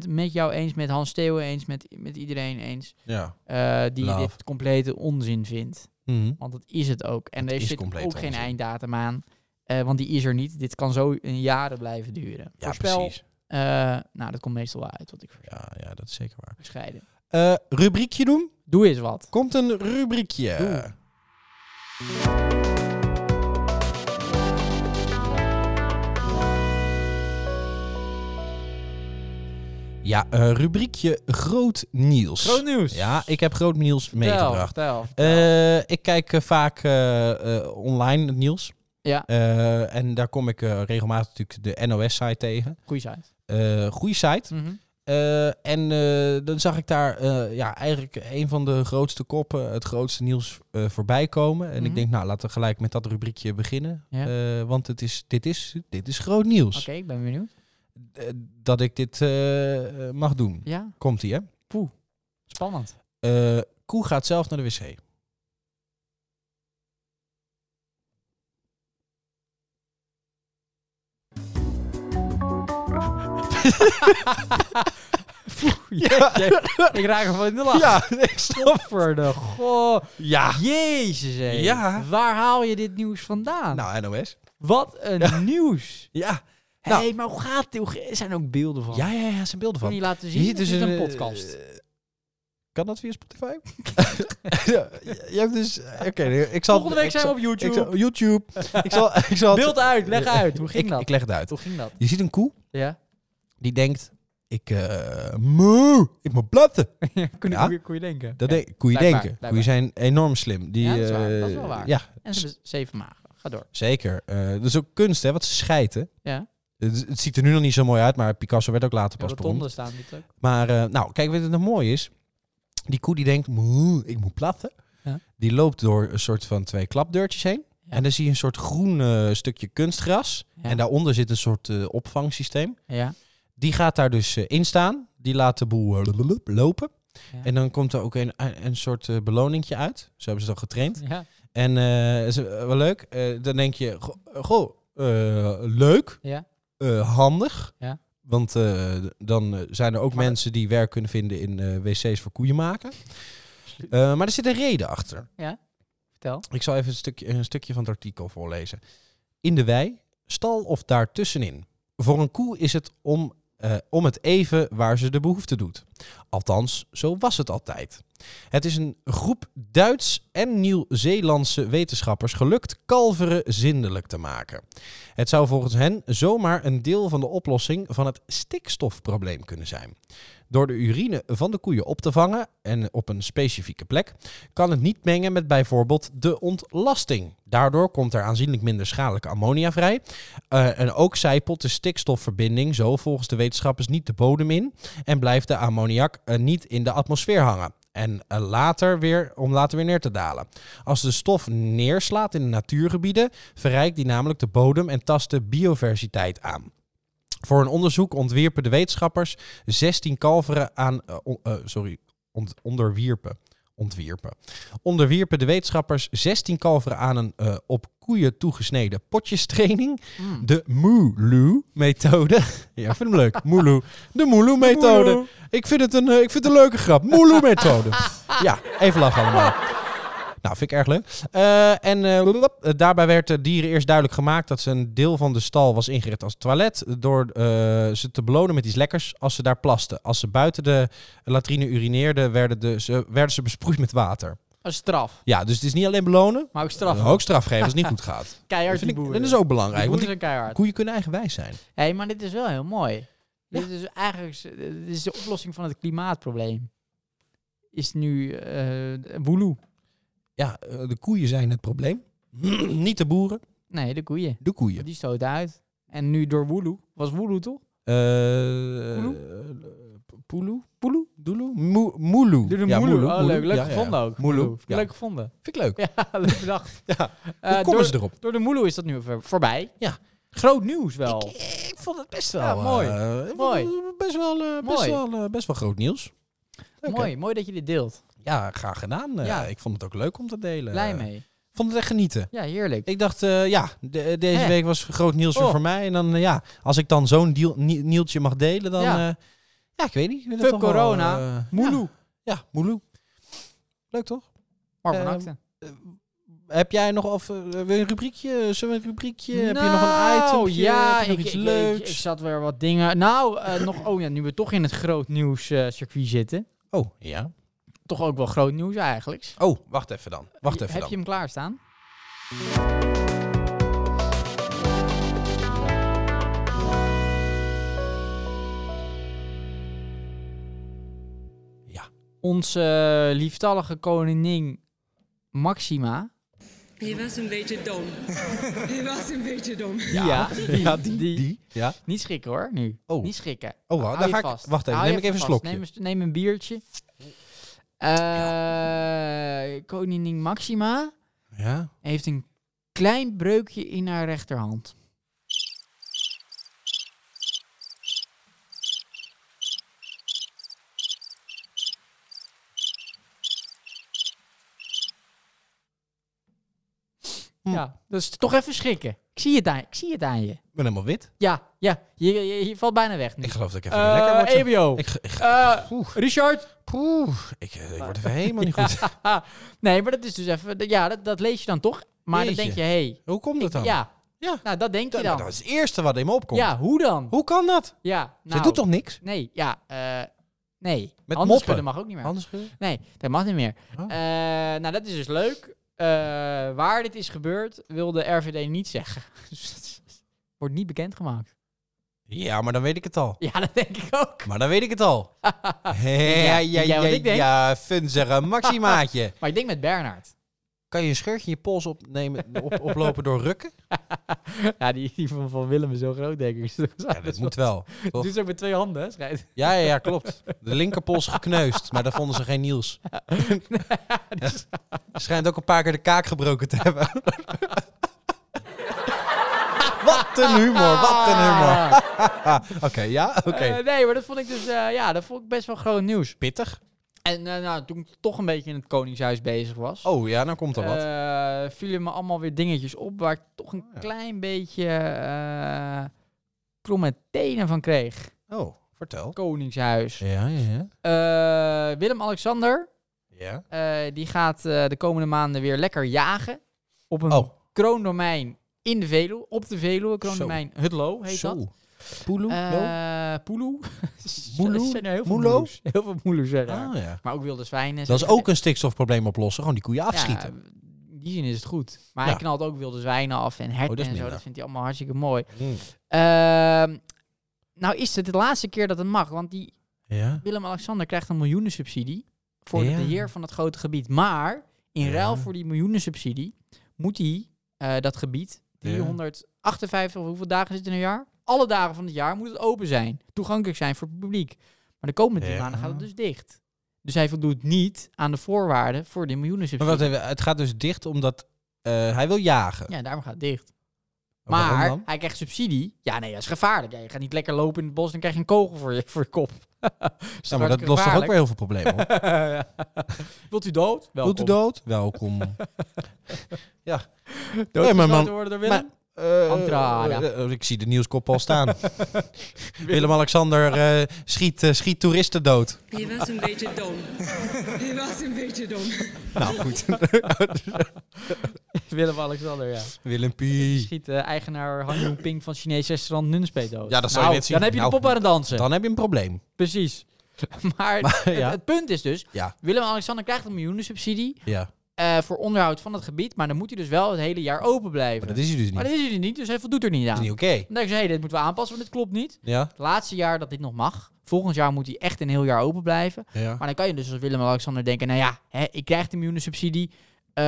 100% met jou eens, met Hans Theo eens, met, met iedereen eens.
Ja.
eh, die
Love.
dit complete onzin vindt.
Mhm.
Want dat is het ook. En
Het
er
is
zit ook
compleet
geen
onzin.
einddatum aan. eh, want die is er niet. Dit kan zo in jaren blijven duren.
Ja,
Voorspel,
precies.
eh, nou, dat komt meestal wel uit wat ik
Ja, ja, dat is zeker waar.
verscheiden.
Eh, rubriekje doen?
Doe eens wat.
Komt een rubriekje.
Doe.
Ja, eh, rubriekje Groot Nieuws.
nieuws.
Ja, ik heb Groot Nieuws meegebracht.
Vertel, vertel.
Eh, ik kijk eh, vaak eh, eh, online het nieuws.
Ja.
Eh, en daar kom ik eh, regelmatig natuurlijk de NOS-site tegen.
Goeie site.
Eh goede site.
Mhm.
Eh, en eh, dan zag ik daar eh, ja, eigenlijk een van de grootste koppen, het grootste nieuws eh, voorbij komen. En
Mhm.
ik denk, nou, laten we gelijk met dat rubriekje beginnen.
Ja.
Eh, want het is, dit, is, dit is groot nieuws.
Oké, ik ben benieuwd.
Eh, dat ik dit eh, eh, mag doen.
Ja,
Komt-ie, hè?
spannend.
Eh, koe gaat zelf naar de wc.
Jeetje, ik raak gewoon in de lach.
Ja, ik snap.
Voor de goh.
Ja.
Jezus, hé.
Ja.
Waar haal je dit nieuws vandaan?
Nou, NOS.
Wat een nieuws.
Ja.
Hé,
Nou.
maar hoe gaat dit? Hoe- Er zijn ook beelden van.
Ja, ja, ja, zijn beelden
Kun
van.
je laten zien?
Hier
Dit is een,
eh,
podcast.
eh, kan dat via Spotify? ja, je hebt dus... Oké, ik zal...
Volgende week
ik
zijn we
zal-
op
Ik
YouTube.
zal, YouTube. ik zal... Ik zal
Beeld uit, leg uit. Hoe ging
ik,
dat?
Ik leg het uit.
Hoe ging dat?
Je ziet een koe
Ja.
die denkt... Ik... eh moe, ik moet blatten.
Kun je,
Ja.
Kun, je, kun je denken?
Dat
Ja.
denk, koeien
blijkbaar,
denken.
blijkbaar.
Koeien zijn enorm slim. Die,
Ja, dat is waar,
eh,
dat is wel waar.
Ja,
En ze hebben zeven magen. Ga door.
zeker. Eh dat is ook kunst, hè? Wat ze schijten.
Ja.
Het, het ziet er nu nog niet zo mooi uit, maar Picasso werd ook later
De
pas beroemd.
rotonde staan natuurlijk.
Maar eh, nou, kijk, wat het nog mooi is. Die koe die denkt, "Moe, ik moet platten.
Ja.
Die loopt door een soort van twee klapdeurtjes heen.
Ja.
En dan zie je een soort groen eh, stukje kunstgras.
Ja.
En daaronder zit een soort eh, opvangsysteem.
Ja.
Die gaat daar dus eh, in staan. Die laat de boel eh, lululup lopen.
Ja.
En dan komt er ook een, een soort eh, beloningje uit. Zo hebben ze dat getraind.
Ja.
En eh, is eh, wel leuk. Eh, dan denk je, go- goh, eh, leuk,
Ja.
eh, handig.
Ja.
Want eh, d- dan eh, zijn er ook
Maar-
mensen die werk kunnen vinden in eh, wc's voor koeien maken. Eh, maar er zit een reden achter.
Vertel.
Ik zal even een stukje, een stukje van het artikel voorlezen. In de wei, stal of daartussenin. Voor een koe is het om eh, om het even waar ze de behoefte doet. Althans, zo was het altijd. Het is een groep Duits en Nieuw-Zeelandse wetenschappers gelukt kalveren zindelijk te maken. Het zou volgens hen zomaar een deel van de oplossing van het stikstofprobleem kunnen zijn. Door de urine van de koeien op te vangen en op een specifieke plek, kan het niet mengen met bijvoorbeeld de ontlasting. Daardoor komt er aanzienlijk minder schadelijke ammonia vrij. Eh, en ook zijpelt de stikstofverbinding zo volgens de wetenschappers niet de bodem in en blijft de ammoniak eh, niet in de atmosfeer hangen. En eh, later weer, om later weer neer te dalen. Als de stof neerslaat in de natuurgebieden, verrijkt die namelijk de bodem en tast de biodiversiteit aan. Voor een onderzoek ontwierpen de wetenschappers 16 kalveren aan. eh, on- eh, sorry, ont- onderwierpen. Ontwierpen. Onderwierpen de wetenschappers 16 kalveren aan een eh, op koeien toegesneden potjestraining.
Mm.
De Moeloe-methode. ja, ik vind hem leuk. Moeloe. De Moeloe-methode. Ik vind het een, eh, ik vind het een leuke grap. Moeloe-methode. ja, even lachen allemaal. Nou, vind ik erg leuk. Eh, en eh, blablab. Eh, daarbij werd de dieren eerst duidelijk gemaakt dat ze een deel van de stal was ingericht als toilet. Door eh, ze te belonen met iets lekkers als ze daar plasten. Als ze buiten de latrine urineerden, werden, de, ze, werden ze besproeid met water.
Een straf.
Ja, dus het is niet alleen belonen,
Maar ook straf.
maar ook straf geven als het niet goed gaat. Dat,
keihard
vind
die
ik,
boeren.
dat is ook
Die
belangrijk, want
boeren
die
zijn keihard.
koeien kunnen eigenwijs zijn.
Hé, maar dit is wel heel mooi. Dit is eigenlijk s- dit is de oplossing van het klimaatprobleem. Is nu eh woeloe.
Ja, eh, de koeien zijn het probleem. niet de boeren,
Nee, de koeien.
de koeien.
Die stoten uit. En nu door woeloe. Was woeloe toch?
Eh,
Poeloe?
eh, Poeloe? Poeloe? Doeloe? Moe- Moeloe.
Doe de
Ja,
moeloe.
moeloe,
Oh,
moeloe.
leuk. Leuk
Ja, ja, ja.
gevonden ook.
Moeloe,
Moeloe.
ja.
Leuk gevonden.
Vind ik leuk.
Ja, leuk bedacht.
Ja.
Eh,
Hoe komen
door,
ze erop?
door de moeloe is dat nu voor- voorbij.
Ja.
Groot nieuws wel.
Ik, ik vond het best wel...
Ja, mooi.
eh, ik vond
Mooi.
het Best wel, eh, Best,
Mooi.
wel eh, best wel groot nieuws. Leuk, hè?
Mooi, mooi dat je dit deelt.
Ja, graag gedaan. Eh,
Ja.
Ik vond het ook leuk om te delen.
Blij
Eh,
mee.
vond het echt genieten.
Ja, heerlijk.
Ik dacht, eh, ja, de- deze
Hè?
week was groot nieuws weer
Oh.
voor mij. En dan, eh, ja, als ik dan zo'n deal- nie- nieltje mag delen, dan...
Ja.
Ja, ja ik weet niet. Ik vind
Fuck
het toch wel,
corona.
eh, ja.
Moeloe.
Ja, moeloe. Leuk toch?
Mark van
Eh,
Acten.
Heb jij nog of eh, wil je een rubriekje? Zullen we een rubriekje? heb je nog
Nou,
een item?
Ja,
heb je nog
ik,
iets
ik,
leuks?
Ik, ik zat weer wat dingen. Nou, eh, nog. Oh ja, nu we toch in het groot nieuws eh, circuit zitten.
Oh, ja.
Toch ook wel groot nieuws eigenlijk.
Oh, wacht even dan. Wacht
Je-
even
Heb
dan.
je hem klaarstaan?
Ja.
Onze eh, lieftallige koningin Maxima.
Je was een beetje dom. Je was een beetje dom.
Ja, die,
Ja, die, die. Ja.
Niet schrikken hoor, nu.
Oh.
Niet schrikken.
Oh, wa-
Hou
daar
je
ga ik.
vast.
Wacht even.
Hou
Neem
je
ik even een
vast.
slokje.
Neem, een- neem een biertje. Eh, Koningin Maxima
Ja.
heeft een klein breukje in haar rechterhand.
Hm.
Ja, dat is toch even schrikken. Ik zie het aan, ik zie het aan je.
Ik ben helemaal wit.
Ja, ja, je, je, je valt bijna weg nu.
Ik geloof dat ik even
Eh,
lekker word. zo.
EBO.
Ik, ge- ik,
Eh,
Oeh.
Richard.
poeh, ik, eh, ik word even helemaal niet goed.
nee, maar dat is dus even... Ja, dat, dat lees je dan toch. Maar
Jeetje.
dan denk je, hé.
Hoe komt dat dan?
Hey, ja.
Ja.
Nou, dat denk je
dat,
dan.
dat is het eerste wat in me opkomt.
Ja, hoe dan?
Hoe kan dat?
Ja, nou,
Ze doet toch niks?
Nee, ja, eh, nee.
Met
Handen
moppen.
schudden mag ook niet meer.
Anders.
Nee, dat mag niet meer.
Oh.
Eh, nou, dat is dus leuk. Eh, waar dit is gebeurd, wil de RVD niet zeggen. Dus dat wordt niet bekendgemaakt.
Ja, maar dan weet ik het al.
Ja, dat denk ik ook.
Maar dan weet ik het al. ja, ja,
Denk jij
ja,
wat ik
ja,
denk?
ja, funzige maximaatje.
Maar ik denk met Bernard.
Kan je een scheurtje in je pols opnemen, op, oplopen door rukken?
Ja, die, die van, van Willem is zo groot, denk ik.
Ja, dat moet wel. toch?
Doe ze ook met twee handen, hè, schijt.
Ja, ja, ja, klopt. De linkerpols gekneusd, maar daar vonden ze geen Niels. Ja. Schijnt ook een paar keer de kaak gebroken te hebben. wat een humor, wat een humor.
Ah.
Oké, ja, oké.
Eh, nee, maar dat vond ik dus eh, ja, dat vond ik best wel groot nieuws.
Pittig.
En eh, nou, toen ik toch een beetje in het Koningshuis bezig was.
Oh ja, nou komt er wat. Oh,
eh, vielen me allemaal weer dingetjes op waar ik toch een
Ja.
klein beetje eh kromme tenen van kreeg.
Oh, vertel.
Koningshuis.
Ja, ja, ja.
Eh, Willem-Alexander,
Ja.
eh, die gaat eh, de komende maanden weer lekker jagen. Op een
Oh,
kroondomein in de Veluwe, op de Veluwe, kroondomein Hutlo heet
zo.
dat.
Poeloe? Lo?
Eh, Poeloe.
Moeloe?
Er zijn er heel veel
Moelo?
moeloes. Heel veel moeloes zijn er.
Ah, ja.
Maar ook wilde zwijnen.
Dat is
zijn er.
ook een stikstofprobleem oplossen. Gewoon die koeien afschieten.
Ja, in die zin is het goed. Maar
Ja.
hij knalt ook wilde zwijnen af en
Oh,
herten
dat is
en zo.
minder.
Dat vindt hij allemaal hartstikke mooi.
Mm.
Ehm, nou is het de laatste keer dat het mag. Want die
Ja.
Willem-Alexander krijgt een miljoenensubsidie voor
Ja.
het beheer van dat grote gebied. Maar in
Ja.
ruil voor die miljoenensubsidie moet hij eh, dat gebied
Ja.
358 of hoeveel dagen is het in een jaar? Alle dagen van het jaar moet het open zijn, toegankelijk zijn voor het publiek. Maar de komende drie
Ja.
maanden gaat het dus dicht. Dus hij voldoet niet aan de voorwaarden voor de
Maar
miljoenensubsidie.
wacht even, het gaat dus dicht omdat eh, hij wil jagen. Oh,
Ja, daarom gaat het dicht.
Waarom
Maar
dan?
hij krijgt subsidie. Ja, nee, dat is gevaarlijk. Ja, je gaat niet lekker lopen in het bos, dan krijg je een kogel voor je, voor je kop.
Ja, maar dat lost toch ook weer heel veel problemen op?
Ja. Wilt u dood?
Doet u
dood?
dood? Welkom.
Dood
Nee, maar
geschoten
man-
worden door
maar-
Willem?
Eh,
Andrada.
eh, eh, ik zie de nieuwskop al staan. Willem-Alexander eh, schiet, eh, schiet toeristen dood.
Je was een beetje dom. Je was een beetje dom.
Nou goed.
Willem-Alexander, ja.
Willempie.
Schiet eh, eigenaar Han Jong Ping van Chinees restaurant Nunspeet dood.
Ja, dat zou je
Nou,
net zien.
Dan heb je
Nou,
de pop aan het dansen.
Dan heb je een probleem.
Precies. Maar, het,
ja.
het punt is dus,
Ja.
Willem-Alexander krijgt een miljoenensubsidie
Ja,
eh, voor onderhoud van het gebied. Maar dan moet hij dus wel het hele jaar open blijven.
maar dat is hij dus niet.
Maar
Dat
dat is hij niet, dus hij voldoet er niet
is
aan.
niet oké.
Dan denk je, hey, dit moeten we aanpassen, want dit klopt niet.
Ja?
Het laatste jaar dat dit nog mag. Volgend jaar moet hij echt een heel jaar open blijven.
Ja.
Maar dan kan je dus als Willem-Alexander denken... nou ja, hè, ik krijg de miljoenensubsidie. eh,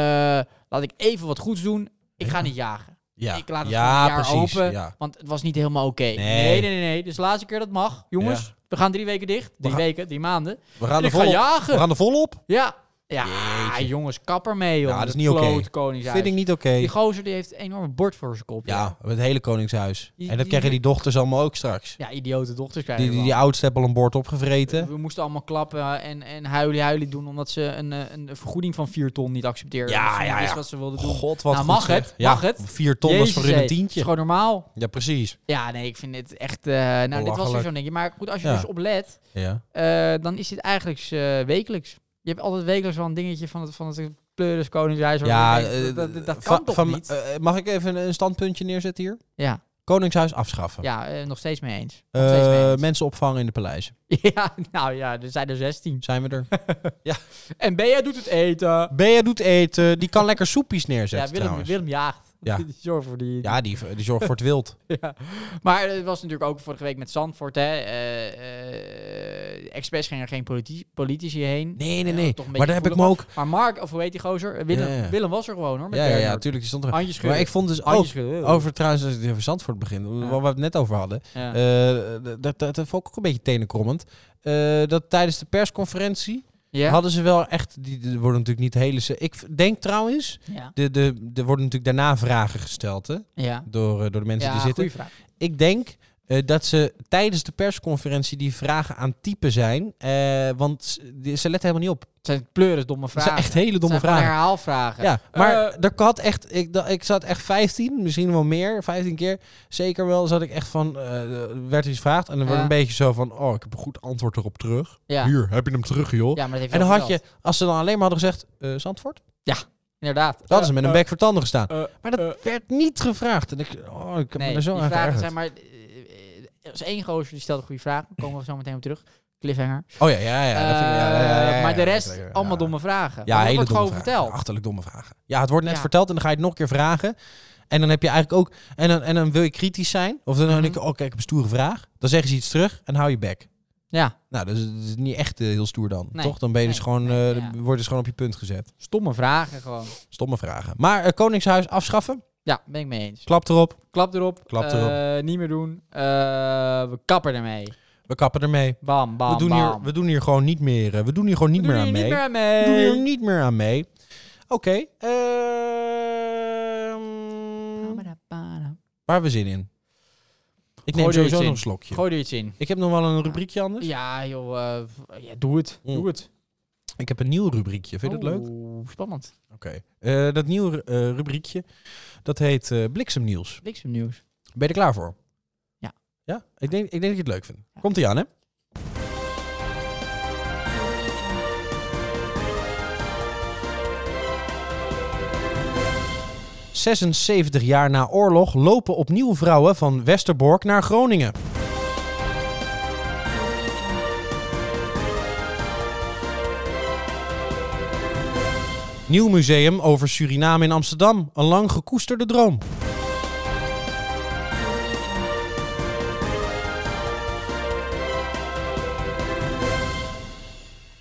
laat ik even wat goeds doen. Ik ga niet jagen.
ja.
Ik laat het
ja,
gewoon een jaar
precies.
open.
Ja.
Want het was niet helemaal oké. Nee, nee, nee, nee. Dus de laatste keer dat mag. Jongens,
Ja.
we gaan drie weken dicht. Drie
gaan-
weken, drie maanden.
We gaan
En
er
ik ga
volop. We
jagen.
gaan er volop.
Ja. Ja,
Jeetje.
jongens, kapper mee, joh.
Ja, dat is
Het
niet oké.
klote koningshuis.
Vind ik niet oké.
Die gozer die heeft een enorm bord voor zijn kop. joh.
Ja, het hele koningshuis.
Die-
En dat
die-
krijgen die dochters allemaal ook straks.
Ja, idiote dochters krijgen
Die, die,
we
die
al.
oudste hebben al een bord opgevreten.
We moesten allemaal klappen en, en huilen, huilen doen omdat ze een, eh, een vergoeding van 4 ton niet accepteerden.
Ja,
Of ze niet
ja, ja.
wisten wat ze wilden doen.
God, wat
Nou,
goed
mag
zeg.
het?
Ja,
Mag het?
Vier ton was
Jezus,
voor hun
hé.
een
Het is
tientje.
gewoon normaal.
Ja, precies.
Ja, nee, ik vind dit echt... eh, nou, dit was weer
Belachelijk.
zo'n dingje. Maar goed, als je
Ja.
dus oplet,
Ja.
eh, dan is dit eigenlijk eh, wekelijks. Je hebt altijd wekelijks wel een dingetje van het, van het Pleuris Koningshuis. waar
Ja,
je denkt,
eh,
dat, dat, dat
va-
kan toch
van-
niet?
eh, mag ik even een standpuntje neerzetten hier?
ja,
Koningshuis afschaffen.
ja eh, nog steeds mee eens. Nog
oh. Eh,
steeds mee eens.
mensen opvangen in de paleizen.
Ja, nou ja, er zijn er 16.
Zijn we er?
En Bea doet het eten.
Bea doet eten. Die kan lekker soepjes
Ja,
neerzetten
Willem,
trouwens.
Willem jaagt.
Ja.
Zorg voor die,
Ja, die, die zorgt voor het wild.
Ja. Maar het was natuurlijk ook vorige week met Zandvoort. Hè. Eh, eh, expres gingen er geen politi- politici heen.
Nee, nee,
Ja,
nee.
toch een beetje
maar daar heb ik me
gevoelig
ook...
Maar Mark, of hoe heet die gozer? Eh, Willem,
Ja, ja.
Willem was er gewoon hoor. Met
Ja, ja, ja,
Bernhard.
tuurlijk. Die stond er.
Handjes schudden.
Maar ik vond dus ook...
Handjes schudden.
Over trouwens, als ik even Zandvoort begin,
Ja.
waar we het net over hadden.
Ja.
eh, dat, dat, dat vond ik ook een beetje tenenkrommend. Eh, dat tijdens de persconferentie
ja.
hadden ze wel echt... Die, die worden natuurlijk niet hele... se- Ik denk trouwens...
ja.
De, de, er worden natuurlijk daarna vragen gesteld hè,
Ja.
door, eh, door de mensen
Ja,
die zitten.
goeie vraag.
Ik denk eh, dat ze tijdens de persconferentie die vragen aan het typen zijn. eh, want ze, die- ze letten helemaal niet op.
Het zijn pleuris domme
Het
vragen.
zijn echt hele domme
Het zijn gewoon
vragen.
herhaalvragen.
Ja, maar
Eh,
er had echt, ik, da- ik zat echt 15, misschien wel meer, 15 keer. Zeker wel zat ik echt van, eh, werd iets gevraagd. En dan wordt
Ja.
een beetje zo van, oh, ik heb een goed antwoord erop terug.
Ja.
Hier, heb je hem terug, joh.
Ja, maar dat heeft
en dan
wel
had je,
verteld.
als ze dan alleen maar hadden gezegd, eh Zandvoort,
Inderdaad.
dan hadden ze met een
Eh,
bek voor tanden gestaan.
eh, eh,
Maar dat
eh,
werd niet gevraagd. En ik, oh, ik heb
nee,
me er zo
die
aan
vragen
geërgerd.
zijn maar... eh, eh, Er is één gozer die stelde een goede vraag. Daar komen we zo meteen op terug. Cliffhanger. Eh,
Oh ja, ja, ja. dat vind ik- ja, ja, ja, ja, ja,
maar de
ja,
rest,
dat vind ik- ja.
allemaal domme vragen.
Ja,
Want
hele domme
dat wordt gewoon
vragen.
verteld.
Ja, achterlijk domme vragen. Ja, het wordt net
Ja.
verteld en dan ga je het nog een keer vragen. En dan heb je eigenlijk ook... En dan, en dan wil je kritisch zijn. Of dan
Mhm.
denk je, oh kijk, ik heb een stoere vraag. Dan zeggen ze iets terug en hou je bek.
Ja,
Nou, dat is, dat is niet echt eh, heel stoer dan,
Nee.
toch? Dan ben je dus
Nee,
gewoon,
nee,
eh,
ja.
wordt dus gewoon op je punt gezet.
stomme vragen gewoon.
Stomme vragen. Maar eh, Koningshuis afschaffen.
Ja, ben ik mee eens.
Klap erop.
Klap erop.
Klap
eh,
erop.
niet meer doen. Eh, we kappen ermee.
We kappen ermee.
Bam, bam,
We doen,
bam.
hier, we doen hier gewoon niet meer, eh, we doen hier gewoon niet
We
meer
doen
aan
hier
mee.
niet meer
We
aan mee.
doen hier niet meer aan mee. Oké. eh, ehm, waar hebben we zin in? Ik
Gooi
neem
er
sowieso
iets
nog
in.
een slokje.
Gooi er iets in.
Ik heb nog wel een rubriekje anders.
Ja, joh. eh, ja, doe het.
Mm.
Doe het.
Ik heb een nieuw rubriekje. Vind je
Oh.
dat leuk? Oké.
leuk? Spannend.
Eh, dat nieuwe eh, rubriekje, dat heet eh Bliksemnieuws.
Bliksemnieuws.
Ben je er klaar voor?
Ja.
Ja? Ik denk, ik denk dat je het leuk vindt.
Ja.
Komt ie aan, hè? ...76 jaar na oorlog lopen opnieuw vrouwen van Westerbork naar Groningen. Nieuw museum over Suriname in Amsterdam. Een lang gekoesterde droom.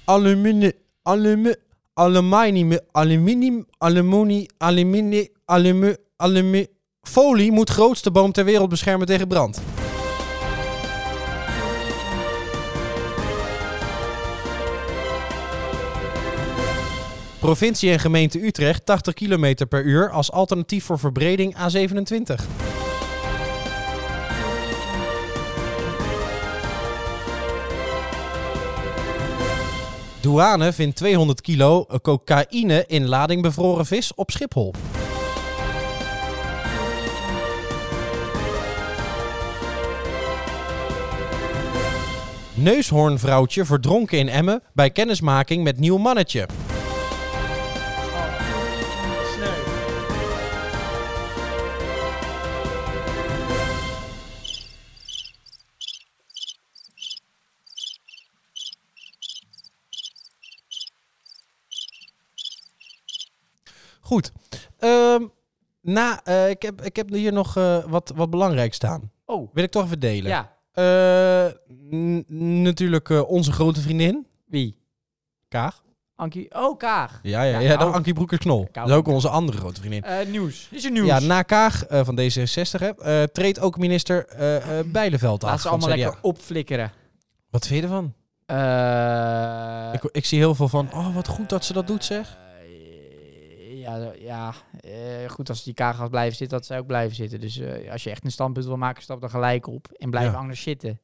Alumine, alume, aluminium, aluminium, alumini, alumini, alume, alume. Folie moet grootste boom ter wereld beschermen tegen brand. Provincie en gemeente Utrecht 80 km per uur als alternatief voor verbreding A27. Douane vindt 200 kilo eh, cocaïne in lading bevroren vis op Schiphol. Neushoornvrouwtje verdronken in Emmen bij kennismaking met nieuw mannetje. Goed. Ehm, na, eh, ik, heb, ik heb hier nog eh, wat, wat belangrijk staan.
Oh,
Wil ik toch even delen.
ja.
Eh, n- natuurlijk eh, onze grote vriendin,
Wie?
Kaag.
Ankie. Oh, Kaag.
Ja, ja, ja,
Ja,
dan
oh.
Ankie Broekers-Knol.
Kaag.
Dat is ook onze andere grote vriendin.
Eh, nieuws. Is er nieuws?
Ja, na Kaag eh, van D66 hè, eh, treedt ook minister eh eh, Bijleveld af.
Laat ze
van
Ah, allemaal
CDA.
lekker opflikkeren.
Wat vind je ervan?
Eh,
ik, ik zie heel veel van, oh wat goed dat ze dat doet zeg.
eh, ja, ja eh, goed als die kaag gaat blijven zitten, dat zij ook blijven zitten. Dus eh, als je echt een standpunt wil maken, stap dan gelijk op en blijf
Ja.
anders zitten.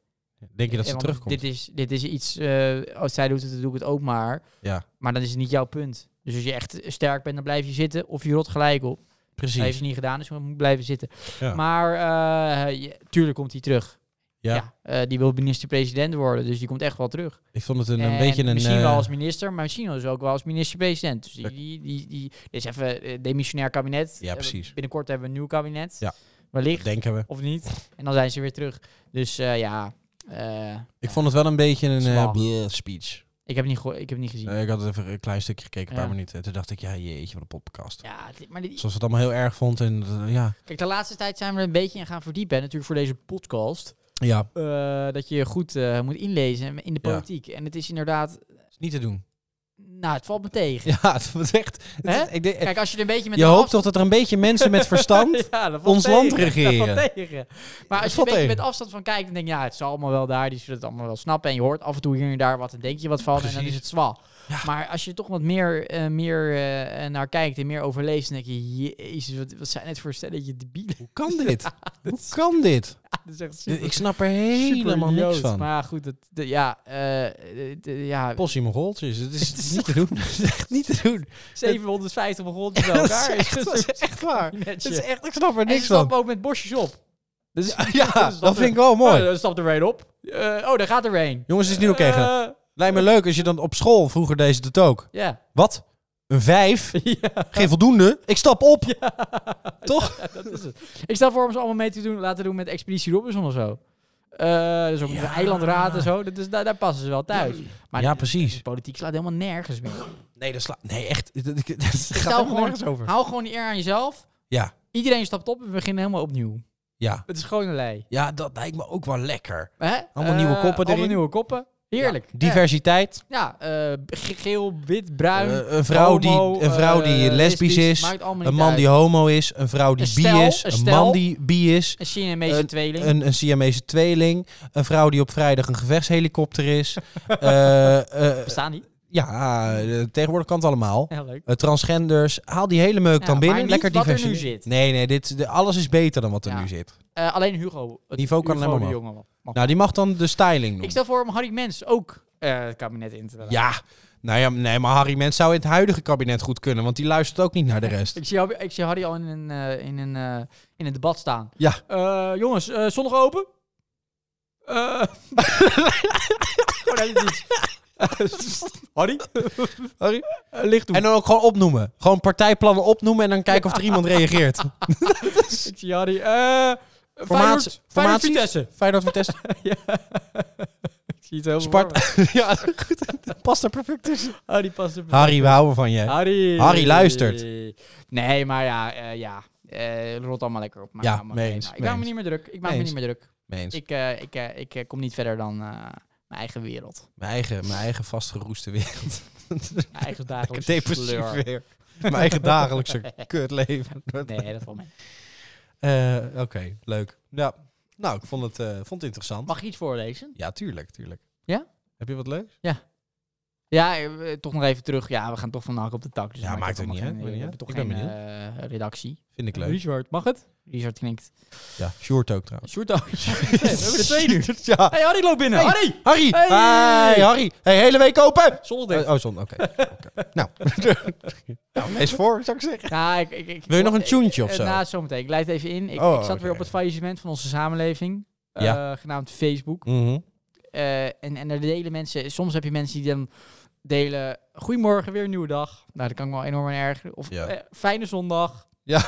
Denk je dat
Eh,
ze
want
terugkomt?
Dit is, dit is iets, eh, als zij doet het, dan doe ik het ook maar.
Ja,
Maar dan is het niet jouw punt. Dus als je echt sterk bent, dan blijf je zitten of je rot gelijk op. Dat heeft
precies.
ze niet gedaan, dus we moeten blijven zitten.
Ja.
Maar eh, je- tuurlijk komt hij terug.
Ja.
eh, die wil minister-president worden, dus die komt echt wel terug.
Ik vond het een,
En
een beetje een...
misschien
eh,
wel als minister, maar misschien dus ook wel als minister-president. Dus die,
Ja.
die, die, die, dit is even eh, demissionair kabinet.
Ja,
Eh,
precies.
Binnenkort hebben we een nieuw kabinet.
Ja.
Wellicht,
denken we.
of niet. En dan zijn ze weer terug. Dus eh, ja, eh,
Ik vond het wel een beetje een eh,
Zwaar.
bleh speech.
ik, heb niet geho- ik heb niet gezien.
Eh, ik had even een klein stukje gekeken, een paar
Ja.
minuten. En toen dacht ik, ja, jeetje, wat een podcast.
ja, dit- maar dit-
Zoals ze het allemaal heel erg vond. En, eh, ja.
kijk, de laatste tijd zijn we er een beetje in gaan verdiepen. hè, Natuurlijk voor deze podcast.
ja,
eh, dat je je goed eh, moet inlezen in de
Ja.
politiek. En het is inderdaad,
is niet te doen.
nou, het valt me tegen.
Ja, het was echt... het
Hè?
is- ik denk-
Kijk, als je er een beetje met
je
een
hoopt
afstand-
toch dat er een beetje mensen met verstand...
Ja, dat valt
ons
tegen.
land regeren.
Dat valt tegen. Maar als je
valt
een beetje
tegen.
met afstand van kijkt, dan denk je, ja, het zal allemaal wel daar, die zullen het allemaal wel snappen. En je hoort af en toe hier en daar wat en denk je wat van en dan
Precies.
is het zwaar.
Ja.
Maar als je toch wat meer, eh, meer eh, naar kijkt en meer overleest, dan denk je, jezus, wat, wat zijn het voor stelletje debielen.
Hoe kan dit? Hoe kan dit?
dat is echt super,
Ik snap er
super
helemaal niks
idioot.
van.
Maar goed, dat, de- ja, eh, eh, de- ja
Possie Mogoltjes, het is,
Het is
niet te doen. Het is echt niet te doen.
750 begon
Ja,
bij
dat is
elkaar.
echt- dat is echt waar. Het is
Netje.
echt, ik snap er
En ze
niks van.
stappen ook met bosjes op. Dus,
Ja,
ze
dat
stappen-
vind ik wel
Oh,
mooi.
dan stapt er weer een op. Eh, oh, daar gaat er weer een.
Jongens, het is nieuw kegen.
Eh,
Lijkt me leuk als je dan op school vroeger deze doet ook.
Ja.
Wat? Een vijf?
ja,
Geen voldoende? Ik stap op. Toch?
dat is het. Ik stel voor om ze allemaal mee te doen, laten doen met Expeditie Robinson of zo. Eh dus ook met de
Ja.
eilandraad en zo. Dat is, daar, daar passen ze wel thuis. Maar
Ja,
de-
precies.
de politiek slaat helemaal nergens meer.
Nee, dat slaat. Nee, echt. Dat, dat- dat gaat
zou
helemaal
gewoon-
nergens over.
Hou gewoon die eer aan jezelf.
Ja,
Iedereen stapt op en we beginnen helemaal opnieuw.
ja.
Het is gewoon een lei.
Ja, dat lijkt me ook wel lekker.
Hè?
Allemaal
Eh,
nieuwe koppen erin.
Allemaal nieuwe koppen. Heerlijk.
Ja, diversiteit.
Eh, Ja, eh, ge- geel, wit, bruin.
Eh, een vrouw die,
homo,
een vrouw die
eh,
lesbisch is.
Maakt allemaal
Een
niet
man
uit.
die homo is. Een vrouw die
Een
bi
stel,
is.
een
Een
stel.
man die bi is.
Een Siamese tweeling.
Een, een Siamese tweeling. Een vrouw die op vrijdag een gevechtshelikopter is. Eh, eh,
Bestaan die?
ja, eh, tegenwoordig kan het allemaal.
Heel leuk.
Eh, transgenders. Haal die hele meuk
Ja,
dan binnen.
maar niet
Lekker
wat er nu
diversiteit.
zit.
Nee, nee. Dit, de- alles is beter dan wat er
Ja.
nu zit.
Eh, alleen Hugo. Het
Niveau kan
Hugo
alleen maar
de jongen. mag.
Nou, die mag dan de styling doen.
ik stel voor om Harry Mens ook eh, het kabinet in te laten.
Ja, nou ja, nee, maar Harry Mens zou in het huidige kabinet goed kunnen, want die luistert ook niet naar de rest.
Ik zie, Harry- ik zie Harry al in een, eh, in, een, eh, in een debat staan.
Ja.
Eh, jongens, eh, zonnig open? Eh. oh, nee, dit is iets. Harry?
Harry?
Eh, licht doen.
En dan ook gewoon opnoemen. Gewoon partijplannen opnoemen en dan kijken of er iemand reageert.
ik zie Harry. eh Feyenoord, Feyenoord
formaties?
Vitesse.
Feyenoord Vitesse.
ja. Ik zie Zie het heel veel
Sparta.
voor
ja, goed. Dat past er perfect tussen.
me. Oh, die past er perfect
Harry, we houden van je.
Harry.
Harry luistert.
Nee, maar ja, eh, ja. Eh, rot allemaal lekker op. Maar
Ja,
allemaal
mee
geen-
eens,
Ik
mee
maak me
eens.
niet meer druk. Ik maak
Mee
me
eens.
niet meer druk.
Mee eens.
Ik, eh, ik, eh, ik eh, kom niet verder dan eh, mijn eigen wereld.
Mijn eigen, mijn eigen vastgeroeste wereld.
Mijn eigen
Lekker
dagelijkse
depressief
sleur.
weer. Mijn eigen dagelijkse kutleven.
Nee, dat valt mee.
Eh, Oké, leuk. Ja. Nou, ik vond het, eh, vond het interessant.
Mag ik iets voorlezen?
Ja, tuurlijk, tuurlijk.
Ja?
Heb je wat leuks?
Ja, eh, eh, toch nog even terug. Ja, we gaan toch van de hak op de tak. Dus
Ja,
dan
maakt
het
ook niet
allemaal
uit,
geen-
maakt
We
niet
hebben toch
uit. Ik
geen
ben
eh, redactie.
Vind ik leuk.
Richard, mag het? Richard knikt.
Ja, short ook trouwens.
Sjoerd ook. we hebben er twee nu.
ja.
Hey, Harry, loop binnen.
Hey.
Harry!
Harry!
Hey!
Hi, Harry! Hey, hele week open!
Zolder.
Oh, oh, zon, oké. Oké. Nou. nou, lees voor, zou ik zeggen.
Ja, ik, ik, ik-
Wil je nog een tuentje of
Eh,
zo?
Nou, zometeen. Ik leid even in. Ik,
Oh,
ik zat
oké.
weer op het faillissement van onze samenleving. eh,
Ja.
Genaamd Facebook.
Mhm.
Eh, en, en er delen mensen... Soms heb je mensen die dan delen... Goedemorgen, weer een nieuwe dag. Nou, dat kan ik wel enorm aan ergeren. Of
Ja.
eh, fijne zondag.
ja.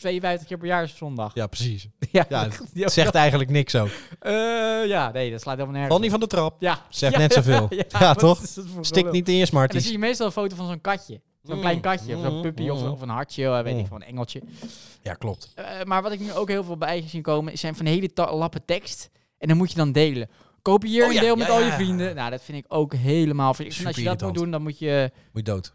52 keer per jaar is zondag.
ja, precies.
Ja,
Ja,
die ook
Het zegt eigenlijk niks ook.
nog. Eh, ja, nee, dat slaat helemaal nergens
Fanny
op.
van de trap.
Ja.
Zegt
Ja,
net zoveel. Ja,
wat
toch?
is dat voor
Stik
gelul?
niet in je
En dan zie
smarties.
je meestal een foto van zo'n katje. Zo'n
Mm,
klein katje, of zo'n
mm,
puppy, of,
mm.
of een hartje, eh, weet
Mm.
ik van een engeltje.
Ja, klopt.
Eh, maar wat ik nu ook heel veel bij zien komen, zijn van hele ta- lappen tekst. En dan moet je dan delen. Kopieer
Oh
een
ja,
deel met
ja,
al
ja,
je
ja.
vrienden. Nou, dat vind ik ook helemaal... ver- Ik vind, als je
Super
dat moet
irritant.
doen, dan moet je...
Moet je dood.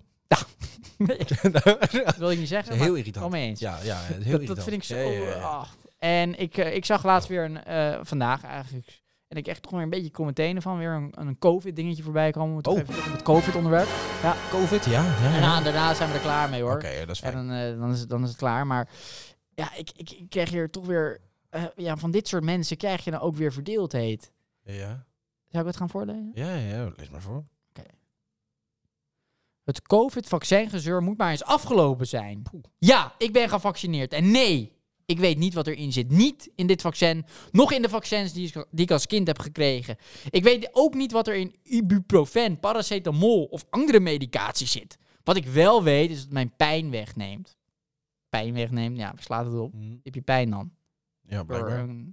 Nee,
Dat
dat wil ik niet
is
zeggen, maar
heel
wel
irritant.
mee eens.
Ja, ja, heel
dat,
irritant.
dat vind ik zo...
Ja, ja, ja.
ah. En ik, eh, ik zag laatst weer een... eh, vandaag eigenlijk... En ik echt toch weer een beetje commentaten van weer een, een COVID-dingetje voorbij komen. Toch
Oh.
even terug op het COVID-onderwerp.
Covid, ja. ja, ja.
En daarna, daarna zijn we er klaar mee, hoor.
Oké, ja, dat is
En
fijn.
dan, eh, dan, is het, dan is het klaar. Maar ja, ik, ik, ik krijg hier toch weer... eh, ja, van dit soort mensen krijg je dan ook weer verdeeldheid.
Ja,
Zou ik het gaan voorlezen?
ja, ja, lees maar voor.
Het COVID-vaccingezeur moet maar eens afgelopen zijn. Ja, ik ben gevaccineerd. En nee, ik weet niet wat erin zit. Niet in dit vaccin, nog in de vaccins die, ik- die ik als kind heb gekregen. Ik weet ook niet wat er in ibuprofen, paracetamol of andere medicatie zit. Wat ik wel weet is dat mijn pijn wegneemt. Pijn wegneemt, ja, slaat het op.
Hm,
Heb je pijn dan?
Ja,
Door
blijkbaar.
een- ehm,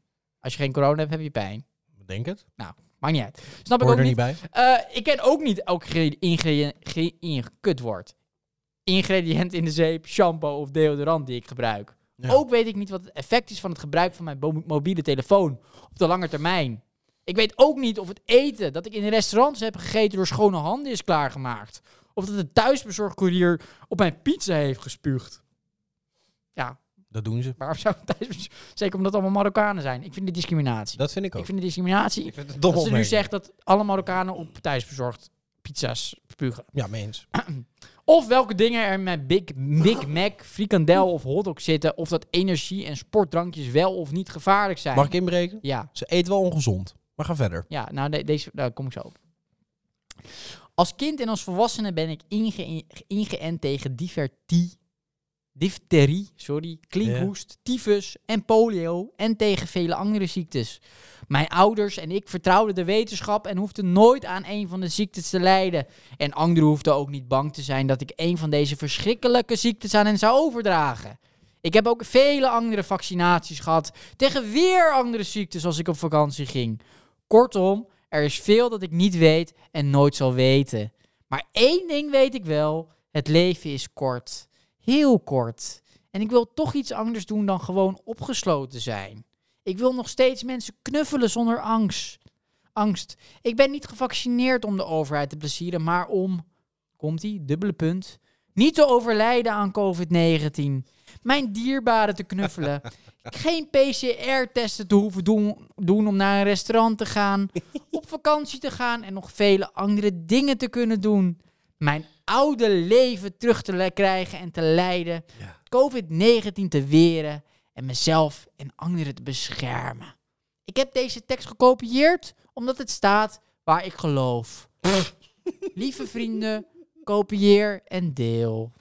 Als je geen corona hebt, heb je pijn.
Denk het.
Maakt niet uit. Snap ik
Hoor
ook
er
niet.
niet bij.
Eh, ik ken ook niet elk ingrediënt. kutwoord. Ingrediënt in de zeep, shampoo of deodorant die ik gebruik.
Ja.
Ook weet ik niet Oh. wat het effect is van het gebruik van mijn bo- mobiele telefoon op de lange termijn. Ik weet ook niet of het eten dat ik in restaurants heb gegeten door schone handen is klaargemaakt. Of dat een thuisbezorgcourier op mijn pizza heeft gespuugd. Ja,
Dat doen ze.
waarom zou een thuisbezorg... Zeker omdat het allemaal Marokkanen zijn. Ik vind dit discriminatie.
Dat vind ik ook.
Ik vind het discriminatie.
Ik vind het een domme
Dat ze nu
opmerking.
zegt dat alle Marokkanen op thuisbezorgd pizza's spugen.
Ja, mens.
Ah. Of welke dingen er in mijn Big, Big Mac, frikandel of hotdog zitten. Of dat energie- en sportdrankjes wel of niet gevaarlijk zijn.
Mag ik inbreken?
Ja,
Ze eet wel ongezond. Maar ga verder.
ja nou de- deze, daar kom ik zo op. Als kind en als volwassene ben ik inge- ingeënt tegen divertie, difterie, sorry, klinkhoest, tyfus en polio en tegen vele andere ziektes. Mijn ouders en ik vertrouwden de wetenschap en hoefden nooit aan een van de ziektes te lijden. En anderen hoefden ook niet bang te zijn dat ik een van deze verschrikkelijke ziektes aan hen zou overdragen. Ik heb ook vele andere vaccinaties gehad tegen weer andere ziektes als ik op vakantie ging. Kortom, er is veel dat ik niet weet en nooit zal weten. Maar één ding weet ik wel: het leven is kort. Heel kort. En ik wil toch iets anders doen dan gewoon opgesloten zijn. Ik wil nog steeds mensen knuffelen zonder angst. Angst. Ik ben niet gevaccineerd om de overheid te plezieren, maar om, komt ie, dubbele punt, niet te overlijden aan COVID-19. Mijn dierbaren te knuffelen. Geen PCR-testen te hoeven doen, doen om naar een restaurant te gaan, op vakantie te gaan en nog vele andere dingen te kunnen doen. Mijn oude leven terug te le- krijgen en te leiden.
Ja.
COVID-19 te weren en mezelf en anderen te beschermen. Ik heb deze tekst gekopieerd omdat het staat waar ik geloof. Lieve vrienden, kopieer en deel.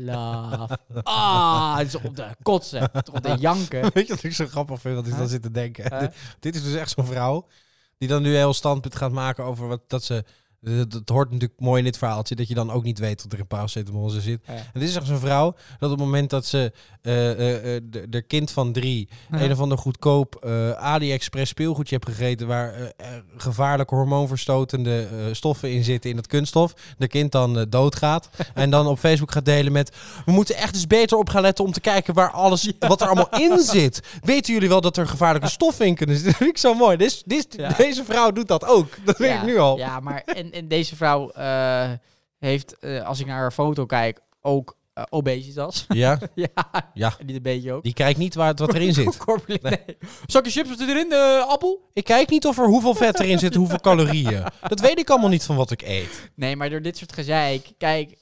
Love. Ah, het is op de kotsen, het is op de janken.
Weet je wat ik zo grappig vind? Wat ik
Huh?
dan zit te denken.
Huh?
Dit, dit is dus echt zo'n vrouw die dan nu heel standpunt gaat maken over wat, dat ze Dat, dat hoort natuurlijk mooi in dit verhaaltje, dat je dan ook niet weet dat er een paracetamol in zit.
Ja.
En dit is echt zo'n vrouw, dat op het moment dat ze eh eh, eh, de, de kind van drie
Ja.
een of ander goedkoop eh AliExpress speelgoedje hebt gegeten waar eh, er gevaarlijke hormoonverstotende eh, stoffen in zitten in het kunststof, de kind dan eh, doodgaat en dan op Facebook gaat delen met we moeten echt eens beter op gaan letten om te kijken waar alles wat er allemaal in zit. Weten jullie wel dat er gevaarlijke stoffen in kunnen zitten? Dat vind ik zo mooi. Dit is- dit is-
Ja.
Deze vrouw doet dat ook. Dat weet
ja,
ik nu al.
Ja, maar en, en deze vrouw eh, heeft, eh, als ik naar haar foto kijk, ook eh, obesitas.
Ja,
ja,
Ja.
niet een beetje ook.
die kijkt niet waar, het- wat erin zit.
Corpulent, nee. Zakje chips wat zit erin, de appel?
Eh, Ik kijk niet of er hoeveel vet erin zit, hoeveel calorieën. Dat weet ik allemaal niet van wat ik eet.
Nee, maar door dit soort gezeik, kijk,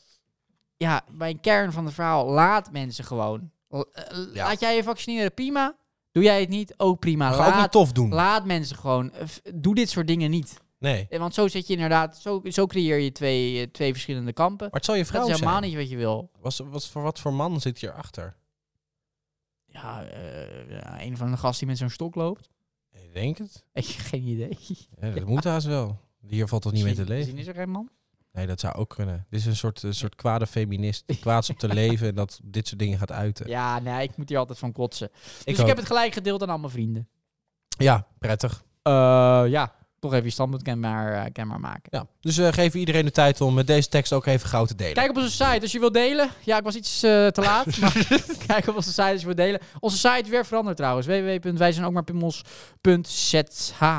ja, bij een kern van het verhaal, laat mensen gewoon. L- eh,
Ja.
Laat jij je vaccineren, prima. Doe jij het niet, ook prima.
Ga ook niet
Laat,
tof doen.
laat mensen gewoon. Eh, f- Doe dit soort dingen niet.
Nee.
Eh, Want zo zit je inderdaad, zo, zo creëer je twee, eh, twee verschillende kampen.
Maar het zal je
Dat
vrouw
is helemaal
zijn.
niet wat je wil.
Was, was, voor wat voor man zit hierachter?
Ja, eh, ja, een van de gasten die met zo'n stok loopt.
Ik denk het.
Ik heb geen idee.
Ja, dat moet haast wel. Hier valt toch niet mee te
Misschien-
leven?
misschien is er geen man.
Nee, dat zou ook kunnen. Dit is een soort, een soort kwade feminist. Die kwaads op te leven en dat dit soort dingen gaat uiten.
Ja, nee, ik moet hier altijd van kotsen. Dus ik,
ook.
heb het gelijk gedeeld aan al mijn vrienden.
Ja, prettig.
Eh, ja, toch even je standpuntkenbaar eh, kenbaar maken.
Ja. Dus eh geef iedereen de tijd om met deze tekst ook even gauw te delen.
Kijk op onze site als je wilt delen. Ja, ik was iets eh, te laat. maar kijk op onze site als je wilt delen. Onze site weer veranderd trouwens. www.wijzijnookmaarpimmels.zh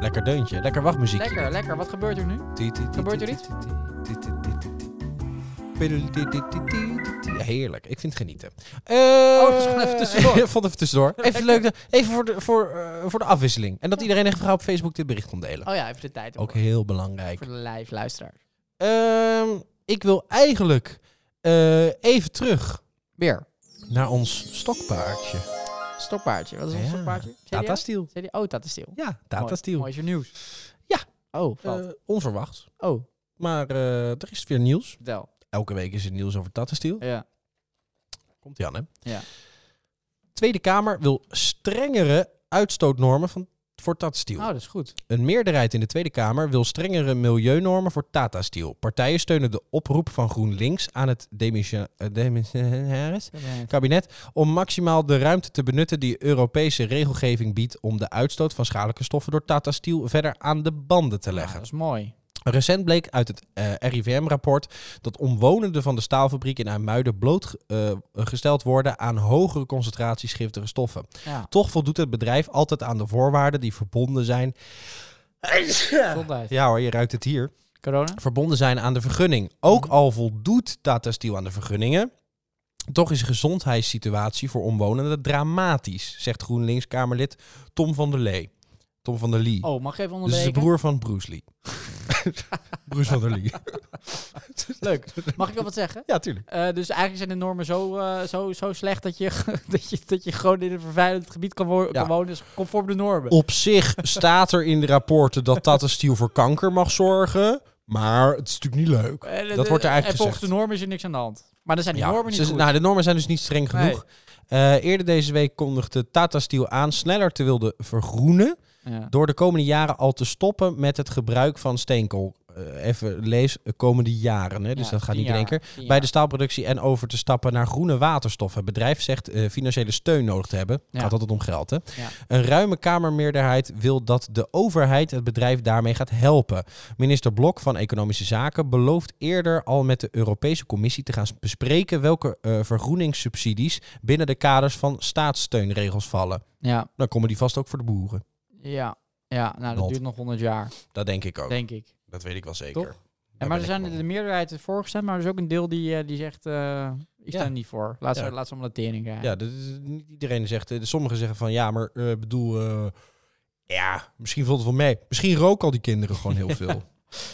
Lekker deuntje, lekker wachtmuziekje.
Lekker, lekker. Wat gebeurt er nu? Gebeurt er iets?
Heerlijk, ik vind het genieten. Eh,
dat is gewoon Oh, even tussendoor.
vond even tussendoor. Even leuk, dat- even voor de, voor, eh, voor de afwisseling. En dat iedereen echt gauw op Facebook dit bericht kon delen.
Oh ja, even de tijd.
Ook
ervoor.
heel belangrijk.
Voor de live luisteraar.
Ehm, ik wil eigenlijk eh, even terug
Weer.
naar ons stokpaardje.
Stokpaardje. Wat is ons
Ja.
stokpaardje? CDA?
Tata Steel.
CDA? Oh, Tata Steel.
Ja, Tata
Mooi.
Steel.
Mooi is je nieuws.
Ja.
Oh, valt.
Eh, onverwacht.
oh,
Maar eh, er is weer nieuws.
vertel.
Elke week is er nieuws over Tata Steel.
Ja.
Komt ie aan, hè?
Ja.
Tweede Kamer wil strengere uitstootnormen van, voor Tata Steel.
Nou, dat is goed.
Een meerderheid in de Tweede Kamer wil strengere milieunormen voor Tata Steel. Partijen steunen de oproep van GroenLinks aan het demisio- eh, demissionaris kabinet om maximaal de ruimte te benutten die Europese regelgeving biedt om de uitstoot van schadelijke stoffen door Tata Steel verder aan de banden te
Nou,
leggen.
dat is mooi.
Recent bleek uit het eh, RIVM-rapport dat omwonenden van de staalfabriek in IJmuiden blootgesteld worden aan hogere concentraties giftige stoffen.
Ja,
Toch voldoet het bedrijf altijd aan de voorwaarden die verbonden zijn.
gezondheid.
Ja hoor, je ruikt het hier.
Corona?
verbonden zijn aan de vergunning. Ook al voldoet Tata Steel aan de vergunningen, toch is de gezondheidssituatie voor omwonenden dramatisch, zegt GroenLinks-Kamerlid Tom van der Lee. Tom van der Lee.
Oh, mag ik even
dus is de
onderbreken?
broer van Bruce Lee. Bruce van der Lee.
Leuk. Mag ik wel wat zeggen?
Ja, tuurlijk.
Eh, dus eigenlijk zijn de normen zo, eh, zo, zo slecht dat je, dat, je, dat je gewoon in een vervuilend gebied kan, wo- kan wonen. Dus conform de normen.
Op zich staat er in de rapporten dat Tata Steel voor kanker mag zorgen, maar het is natuurlijk niet leuk.
En, eh,
dat wordt er eigenlijk
En volgens
gezegd.
de normen is er niks aan de hand. Maar dan zijn die
Ja,
normen niet
ze-
goed.
Nou, de normen zijn dus niet streng
Nee.
genoeg. Eh, eerder deze week kondigde Tata Steel aan sneller te wilden vergroenen.
ja.
nou door de komende jaren al te stoppen met het gebruik van steenkool. Eh, even lees, eh, komende jaren. Hè? Dus
Ja,
dat gaat
tien
niet in één
jaar,
keer.
tien
Bij
jaar.
de staalproductie en over te stappen naar groene waterstof. Het bedrijf zegt eh, financiële steun nodig te hebben.
Ja.
Gaat altijd om geld, hè?
Ja.
Een ruime Kamermeerderheid wil dat de overheid het bedrijf daarmee gaat helpen. Minister Blok van Economische Zaken belooft eerder al met de Europese Commissie te gaan s- bespreken welke eh, vergroeningssubsidies binnen de kaders van staatssteunregels vallen.
Ja,
Dan komen die vast ook voor de boeren.
ja, ja. Nou, dat
Not.
duurt nog 100 jaar,
Dat denk ik ook.
denk ik.
Dat weet ik wel zeker.
Toch? En maar er zijn de meerderheid is voorgestemd, maar er is ook een deel die, eh, die zegt, eh ik sta
Ja.
er niet voor. Laat ze,
Ja.
laat ze allemaal de tering krijgen.
Ja, dat is- niet iedereen zegt... eh, Sommigen zeggen van, ja, maar eh, bedoel... eh, ja, misschien valt het wel mee. Misschien roken al die kinderen gewoon heel veel.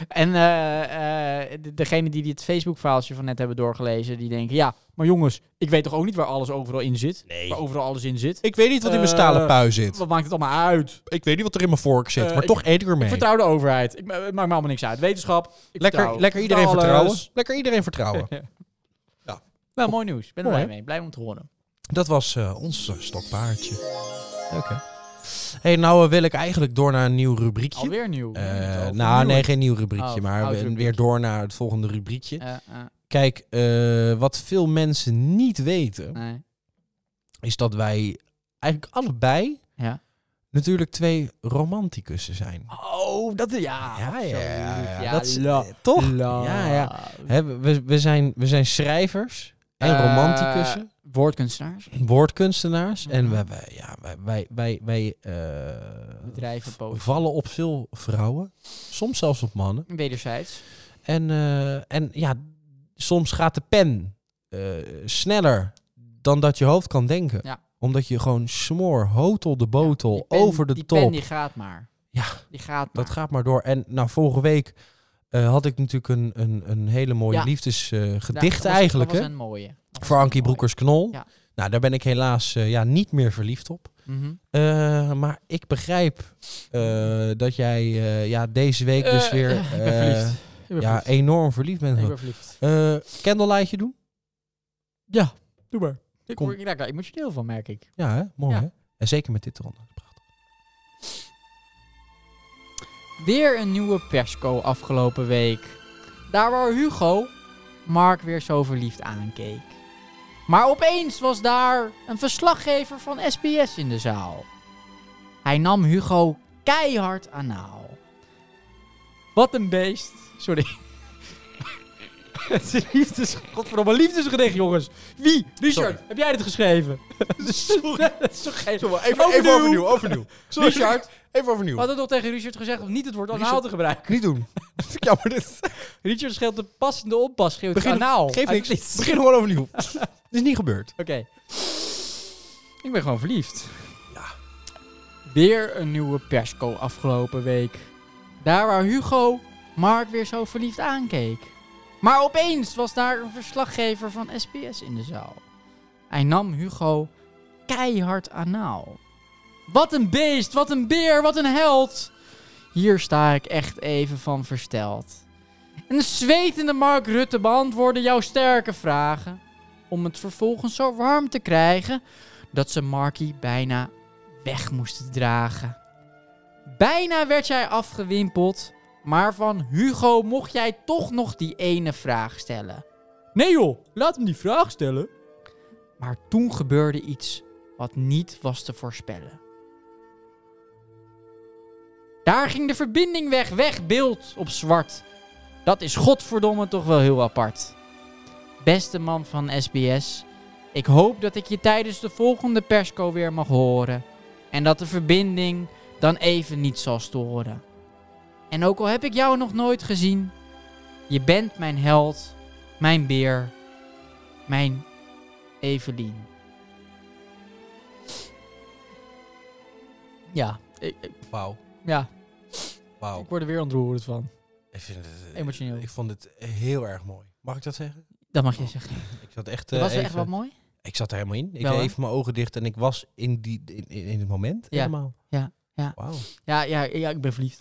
En eh, eh, de- degene die dit Facebook-verhaaltje van net hebben doorgelezen, die denken, ja, maar jongens, ik weet toch ook niet waar alles overal in zit?
Nee.
Waar overal alles in zit?
Ik weet niet wat in mijn
Eh,
stalen pui zit.
Wat maakt het allemaal uit?
Ik weet niet wat er in mijn vork zit.
eh,
maar
ik-
toch eet ik
Ik
ermee.
vertrouw de overheid. Ik, ma- het maakt me allemaal niks uit. Wetenschap. Ik
lekker
vertrouw.
lekker
Ik
iedereen
vertrouw
vertrouwen.
alles.
Lekker iedereen vertrouwen.
Nou, mooi nieuws. Ik ben er
Mooi,
blij mee. Blij om te horen.
Dat was eh, ons eh, stokpaardje. Leuk hè? hey, nou eh, wil ik eigenlijk door naar een nieuw rubriekje.
Alweer nieuw.
Eh,
Ja, het is
nou,
alweer
nee,
nieuw.
geen nieuw rubriekje,
Oh,
maar
oud
we-
rubriekje.
weer door naar het volgende rubriekje.
Eh, eh,
Kijk, eh, wat veel mensen niet weten,
nee.
is dat wij eigenlijk allebei
Ja.
natuurlijk twee romanticussen zijn.
Oh, dat ja.
Ja, ja, ja, ja.
Ja,
Dat is-
la-
Toch?
la-
Ja, ja. Hè, we, we, zijn, we zijn schrijvers en
Eh,
romanticussen,
Woordkunstenaars,
Hm. woordkunstenaars. En
Mhm.
wij, wij, ja, wij, wij, wij, wij eh,
bedrijven, poten.
vallen op veel vrouwen, soms zelfs op mannen.
Wederzijds.
En, eh, en ja, soms gaat de pen eh, sneller dan dat je hoofd kan denken.
Ja.
Omdat je gewoon smoor, hotel de botel,
Die pen-
over de
die
top.
Pen, die gaat maar.
Ja,
Die gaat maar.
Dat gaat maar door. En nou, vorige week eh, had ik natuurlijk een, een, een hele mooie
Ja. Ja,
liefdesgedicht
dat was-
eigenlijk.
Dat
hè?
was een mooie. Dat was
Voor
een
Ankie
mooie.
Broekers-Knol.
Ja.
Nou, daar ben ik helaas eh, ja, niet meer verliefd op.
Mhm.
Eh, maar ik begrijp eh, dat jij eh, ja, deze week dus
Eh,
weer
ik ben
eh,
verliefd. Ik ben
ja,
verliefd.
enorm verliefd bent.
Ik ben verliefd.
Eh candlelightje doen? Ja, doe maar.
Ik,
Kom.
word- ik, raak er emotioneel van, merk ik.
Ja, hè? mooi
Ja.
hè? En zeker met dit eronder. Prachtig.
Weer een nieuwe persco afgelopen week. Daar waar Hugo Mark weer zo verliefd aankeek. Maar opeens was daar een verslaggever van SBS in de zaal. Hij nam Hugo keihard anaal. Wat een beest. Sorry. Het is een liefdes... Godverdomme, een liefdesgedicht, jongens. Wie? Richard,
Sorry.
heb jij dit geschreven? Sorry. Dat is toch geen...
overnieuw.
Sorry, Richard.
even overnieuw.
We hadden toch tegen Richard gezegd om niet het woord
Richard-
anaal te gebruiken.
Niet doen. Vind ik jammer dit.
Richard scheelt de passende oppas, scheelt
Begin-
kanaal.
Geef
Uit
niks.
niets.
Begin gewoon overnieuw. Het is niet gebeurd.
Oké. Ik ben gewoon verliefd. Ja. Weer een nieuwe persco afgelopen week. Daar waar Hugo Mark weer zo verliefd aankeek. Maar opeens was daar een verslaggever van SBS in de zaal. Hij nam Hugo keihard anaal. Wat een beest, wat een beer, wat een held. Hier sta ik echt even van versteld. En de zwetende Mark Rutte beantwoordde jouw sterke vragen om het vervolgens zo warm te krijgen dat ze Markie bijna weg moesten dragen. Bijna werd jij afgewimpeld, maar van Hugo mocht jij toch nog die ene vraag stellen. Nee joh, laat hem die vraag stellen. Maar toen gebeurde iets wat niet was te voorspellen. Daar ging de verbinding weg, weg beeld op zwart. Dat is godverdomme toch wel heel apart. Beste man van SBS, ik hoop dat ik je tijdens de volgende persco weer mag horen. En dat de verbinding dan even niet zal storen. En ook al heb ik jou nog nooit gezien, je bent mijn held, mijn beer, mijn Evelien. Ja, ik, ik-
Wauw.
ja,
Wauw.
ik word er weer ontroerd van.
Ik vind het, eh,
Emotioneel.
Ik vond het heel erg mooi. Mag ik dat zeggen?
Dat mag je zeggen.
Ik zat echt, eh,
Dat was wel echt
even-
wat mooi.
ik zat er helemaal in. Ik
Wel,
deed
hè?
even mijn ogen dicht en ik was in, die, in, in, in het moment
Ja.
helemaal.
Ja, ja.
Wauw.
Ja, ja, ja, ik ben verliefd.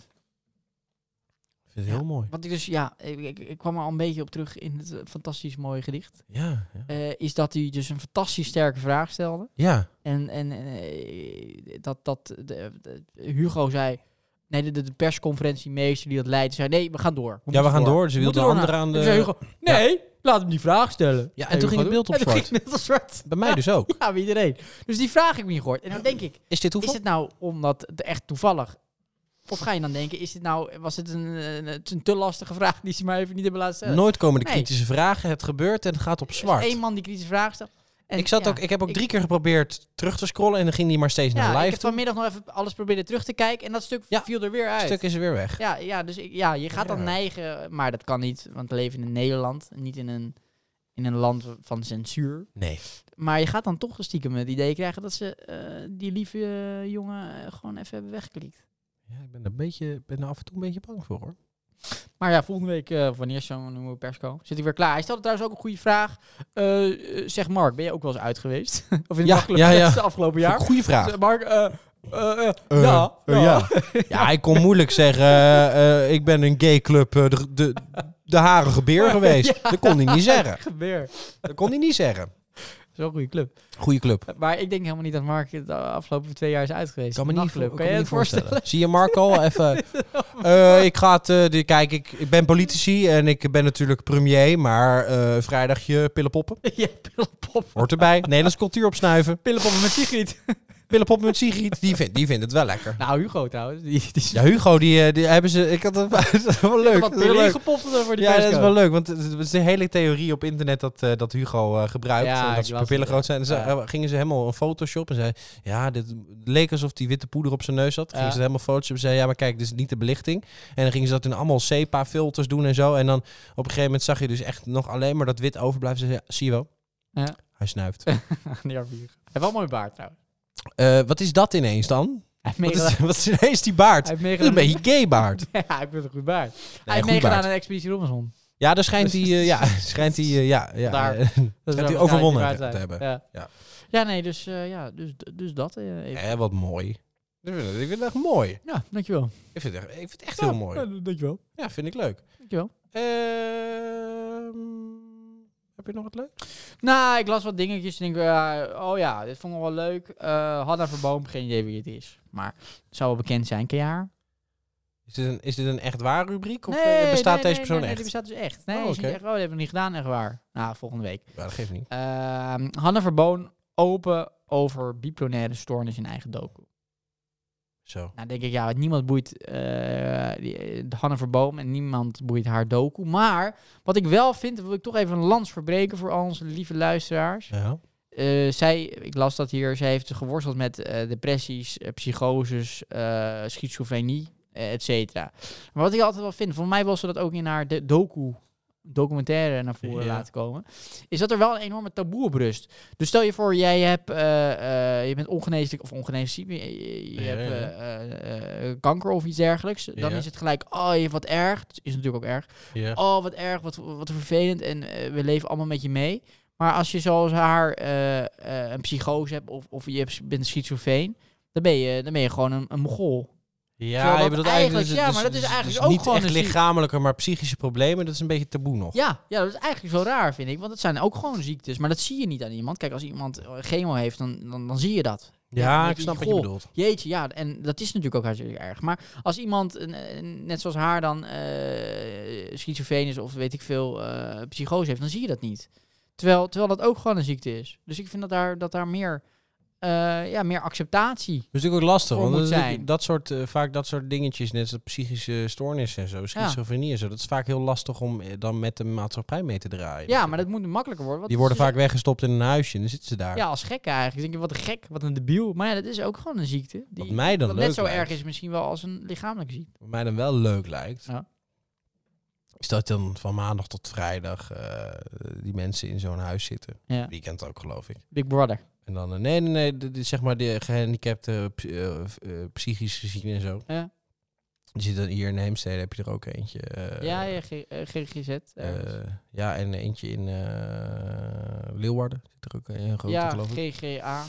Ik vind het heel mooi.
Wat ik dus, ja, ik, ik- ik kwam er al een beetje op terug in het eh, fantastisch mooie gedicht.
Ja. Ja.
Eh, is dat hij dus een fantastisch sterke vraag stelde.
ja.
En, en eh, dat, dat de, de- eh, Hugo zei. Nee, de, de- de persconferentiemeester die dat leidt, zei: Nee, we gaan door. We
Ja, we
moeten
gaan door. Ze
We
wilde de
moeten
andere
door
aan
naar- En
de...
toen zei Hugo, nee, laat hem die vraag stellen.
Ja, en toen ging het beeld op
En toen
zwart.
ging het beeld op zwart.
Bij mij dus ook.
Ja, bij iedereen. Dus die vraag heb ik niet gehoord. En dan denk ik:
Is dit toeval?
is het nou omdat het echt toevallig? Of ga je dan denken, is dit nou, was het een, een, een te lastige vraag die ze maar even niet hebben laten stellen?
Nooit komen de
eh, Nee.
kritische vragen. Het gebeurt en het gaat op
Er is
zwart.
één man die kritische vragen stelt. En
ik, zat
ja,
ook, ik heb ook
ik-
drie keer geprobeerd terug te scrollen en dan ging die maar steeds
ja,
naar
ik
live.
heb vanmiddag nog even alles proberen terug te kijken en dat stuk
Ja,
viel er weer uit.
Het stuk is er weer weg.
Ja, ja, dus ik, ja, je gaat dan
Ja.
neigen, maar dat kan niet, want we leven in Nederland, niet in een, in een land van censuur.
Nee.
Maar je gaat dan toch stiekem het idee krijgen dat ze eh, die lieve eh, jongen eh, gewoon even hebben weggeklikt.
Ja, ik ben er, een beetje, ben er af en toe een beetje bang voor hoor.
Maar ja, volgende week, eh, wanneer is zo'n nieuwe persco? Zit ik weer klaar. Hij stelde trouwens ook een goede vraag. Eh, eh, zeg Mark, ben je ook wel eens uit geweest? of in
Ja,
het
ja, ja.
afgelopen
Ja?
jaar?
Goeie vraag.
Zeg, Mark, eh,
Ah.
eh, eh,
Eh,
ja,
eh,
ja.
Ja, ik kon moeilijk zeggen, eh, eh, ik ben een gay club eh, de, de, de harige beer geweest. Dat kon hij niet zeggen.
Gebeer.
Dat kon hij niet zeggen.
is wel een goede club.
Goede club.
Maar ik denk helemaal niet dat Mark de afgelopen twee jaar is uit geweest.
Kan me niet,
Nachtclub.
vo-
Kan
me niet
je het voorstellen?
Zie je Marco? Even. eh, ik ga het. eh, de- kijk, ik, ik ben politici en ik ben natuurlijk premier. Maar eh, vrijdagje pillenpoppen.
ja, pillenpop.
Hoort erbij. Nederlands cultuur opsnuiven.
Pillenpoppen met Sigrid.
Pillenpoppen met Sigrid. Die vindt, die vindt het wel lekker.
nou, Hugo trouwens. Die, die is
Ja, Hugo, die, eh, die hebben ze. Ik had het, dat is wel leuk. Dat
wat
is wel
pillen
leuk.
ingepopt voor die
Ja, dat is
persco.
wel leuk, want het is een hele theorie op internet dat, eh, dat Hugo eh, gebruikt.
Ja,
en
ik
dat zijn
las
pupillen
het,
groot zijn. En ze,
ja.
eh, gingen ze helemaal een Photoshop en zei: Ja, dit leek alsof die witte poeder op zijn neus zat. Gingen
Ja.
ze het helemaal Photoshop en zei: Ja, maar kijk, dit is niet de belichting. En dan gingen ze dat in allemaal CEPA-filters doen en zo. En dan op een gegeven moment zag je dus echt nog alleen maar dat wit overblijft. Ze zei: ja, Zie je wel?
Ja.
Hij snuift.
Ja, Hugo. Hij heeft wel een mooi baard trouwens.
Eh, wat is dat ineens dan?
Hij heeft
Wat
meegedaan-
is, wat is ineens die baard?
hij heeft
Dat is een
meegedaan...
beetje gay baard.
Ja, ik vind het een goed baard. hij
Nee,
heeft
goed
meegedaan
baard.
aan de Expeditie Robinson.
Ja, daar schijnt hij, eh, ja, schijnt hij, eh, ja, ja.
Daar.
eh,
Dat
Schijnt
wel
hij
waarschijnlijk
overwonnen
die waard
te
zijn.
hebben.
Ja,
Ja.
ja. nee, dus, eh, ja, dus, dus dat. eh, even.
Eh, wat mooi. Ik vind het- ik vind het echt mooi.
Ja, dankjewel.
Ik vind het echt, ik vind het echt
Ja,
heel mooi.
ja, dankjewel.
Ja, vind ik leuk.
Dankjewel.
Ehm, heb je nog wat leuk?
Nou, ik las wat dingetjes en denk, eh, oh ja, dit vond ik wel leuk. Eh Hanna Verboom, geen idee wie het is. Maar het zou wel bekend zijn, ken je haar?
Is dit een, is dit een echt waar rubriek? Of eh, bestaat deze
nee, nee,
persoon
nee,
echt?
Nee, die bestaat dus echt. Nee,
Oh,
is niet
oké.
echt. oh, die hebben we niet gedaan, echt waar. Nou, volgende week.
Ja, dat geeft niet.
Ehm Hanna Verboon, open over bipolaire stoornis in eigen docu.
Zo.
Nou, denk ik, ja, wat niemand boeit eh, die, eh, de Hanne Verboom en niemand boeit haar docu. Maar wat ik wel vind, wil ik toch even een lans verbreken voor al onze lieve luisteraars.
Ja.
Eh, zij, ik las dat hier, zij heeft geworsteld met eh, depressies, eh, psychoses, eh, schizofrenie, eh, et cetera. Maar wat ik altijd wel vind, voor mij was ze dat ook in haar de docu, documentaire naar voren
Ja.
laten komen, is dat er wel een enorme taboe op rust. Dus stel je voor, jij hebt, eh, eh, je bent ongeneeslijk of ongeneeslijk ziek, je, je- je
Ja,
hebt
ja.
eh, eh, eh, kanker of iets dergelijks, dan
Ja.
is het gelijk, oh je wat erg, dat is natuurlijk ook erg,
Ja.
oh wat erg, wat, wat vervelend en eh, we leven allemaal met je mee. Maar als je zoals haar eh, eh, een psychose hebt of, of je hebt- bent schizofreen, dan ben je, dan ben je gewoon een, een mogol.
Ja,
Terwijl
je
dat
bedoelt
eigenlijk-
eigenlijk... dus-
ja, maar dat is eigenlijk ook
niet
gewoon
echt
een ziek-
lichamelijke, maar psychische problemen. Dat is een beetje taboe nog.
Ja, ja, dat is eigenlijk zo raar, vind ik. Want het zijn ook gewoon ziektes. Maar dat zie je niet aan iemand. Kijk, als iemand eh, chemo heeft, dan, dan, dan zie je dat. Ja,
Ja,
dat
ik
je-
snap wat je
goh.
bedoelt.
Jeetje, ja, en dat is natuurlijk ook hartstikke erg. Maar als iemand, een- een- net zoals haar, dan eh schizofreen is of weet ik veel, eh, psychose heeft, dan zie je dat niet. Terwijl, terwijl dat ook gewoon een ziekte is. Dus ik vind dat daar, dat daar meer, eh, ja, meer acceptatie.
Dat is natuurlijk ook lastig,
Voor
want dat,
moet
is natuurlijk
zijn.
dat soort, eh, vaak dat soort dingetjes, net als psychische stoornissen en zo, schizofrenie en zo, dat is vaak heel lastig om eh, dan met de maatschappij mee te draaien.
Ja, maar dat moet makkelijker worden. want
Die worden
ze-
vaak weggestopt in een huisje en dan zitten ze daar.
Ja, als gek eigenlijk. Dan denk je, wat een gek, wat een debiel. Maar ja, dat is ook gewoon een ziekte. Die,
wat mij dan
wat
leuk
net zo
lijkt,
erg is misschien wel als een lichamelijke ziekte.
Wat mij dan wel leuk lijkt,
Ja.
is dat dan van maandag tot vrijdag eh, die mensen in zo'n huis zitten.
Ja.
Weekend ook, geloof ik.
Big Brother.
En dan, eh, nee, nee, nee, de- de- zeg maar de gehandicapte, psy- eh, eh, psychisch gezien en zo.
Ja.
Die zitten hier in Heemstede, heb je er ook eentje. eh,
ja, ja, G- eh, GGZ. ergens.
Eh, ja, en eentje in eh, Leeuwarden. Zit er ook eh, een grote,
ja,
geloof ik.
GGA.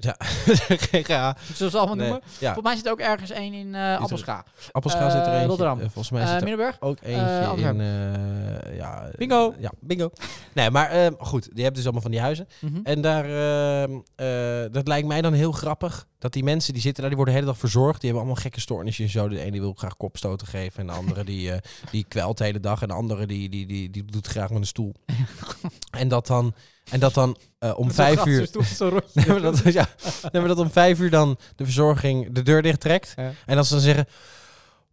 Ja, GGA.
Zullen ze allemaal
Nee,
noemen?
Ja,
Volgens mij zit er ook ergens één in eh Appelscha.
Appelscha zit er
eh,
eentje.
Rotterdam.
Eh, volgens mij
Eh
zit er
Middenburg?
ook eentje
eh,
in...
Antwerpen.
eh, ja,
Bingo.
Ja, bingo. Nee, maar eh, goed, je hebt dus allemaal van die huizen.
Mhm.
En daar, ehm, eh, dat lijkt mij dan heel grappig. Dat die mensen die zitten daar, die worden de hele dag verzorgd. Die hebben allemaal gekke stoornissen en zo. De ene die wil graag kopstoten geven. En de andere die, eh, die kwelt de hele dag. En de andere die, die, die, die doet graag met een stoel. en dat dan, en dat dan eh, om
Met zo'n
vijf
gras,
uur...
zo'n stoel, zo'n
Nee,
rondje.
maar dat, ja, nee, maar dat om vijf uur dan de verzorging de deur dicht trekt.
Ja.
En dat ze dan zeggen...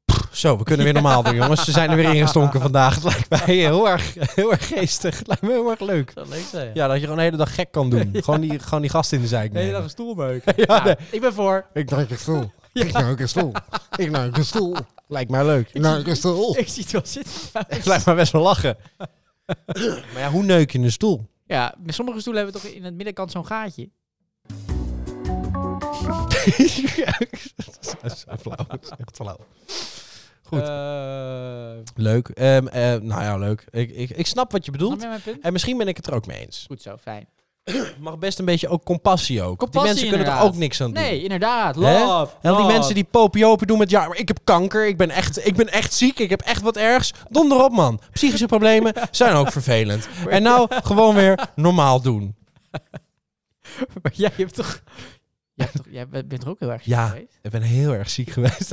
"Pff, Zo, we kunnen weer normaal doen, jongens. Ze zijn er weer ingestonken vandaag. Het lijkt mij heel erg, heel erg geestig. Het lijkt me heel erg leuk.
Dat zou leuk zijn.
Ja, dat je gewoon de hele dag gek kan doen. Gewoon, die, gewoon die gast in de zijk
De hele dag
nemen.
een stoel neuken.
Ja,
Nou,
nee.
Ik ben voor.
Ik neuk een stoel. Ik neuk een stoel. Ik neuk een stoel.
Lijkt mij leuk.
Ik neuk een stoel.
Ik zie het wel zitten.
Lijkt mij best wel lachen. maar ja, hoe neuk je in een stoel?
Ja, met sommige stoelen hebben toch in het middenkant zo'n gaatje.
Dat is flauw. Dat is echt flauw. Goed.
Goed. Uh,
Leuk. Ehm, eh, nou ja, leuk. Ik, ik, ik snap wat je bedoelt.
mijn punt?
En misschien ben ik het er ook mee eens.
Eh, Goed zo, fijn.
Mag best een beetje ook compassie ook. die
Compassie,
mensen kunnen er
inderdaad.
ook niks aan doen.
Nee, Oh. inderdaad.
Hè?
Love.
En al die
love.
mensen die popiopen doen met ja, maar ik heb kanker, ik ben, echt, ik ben echt ziek, ik heb echt wat ergs. Donder op man. Psychische problemen zijn ook vervelend. En nou gewoon weer normaal doen.
Maar jij hebt toch... Jij, hebt toch, jij bent er ook heel erg ziek
Ja.
geweest?
Ik ben heel erg ziek geweest.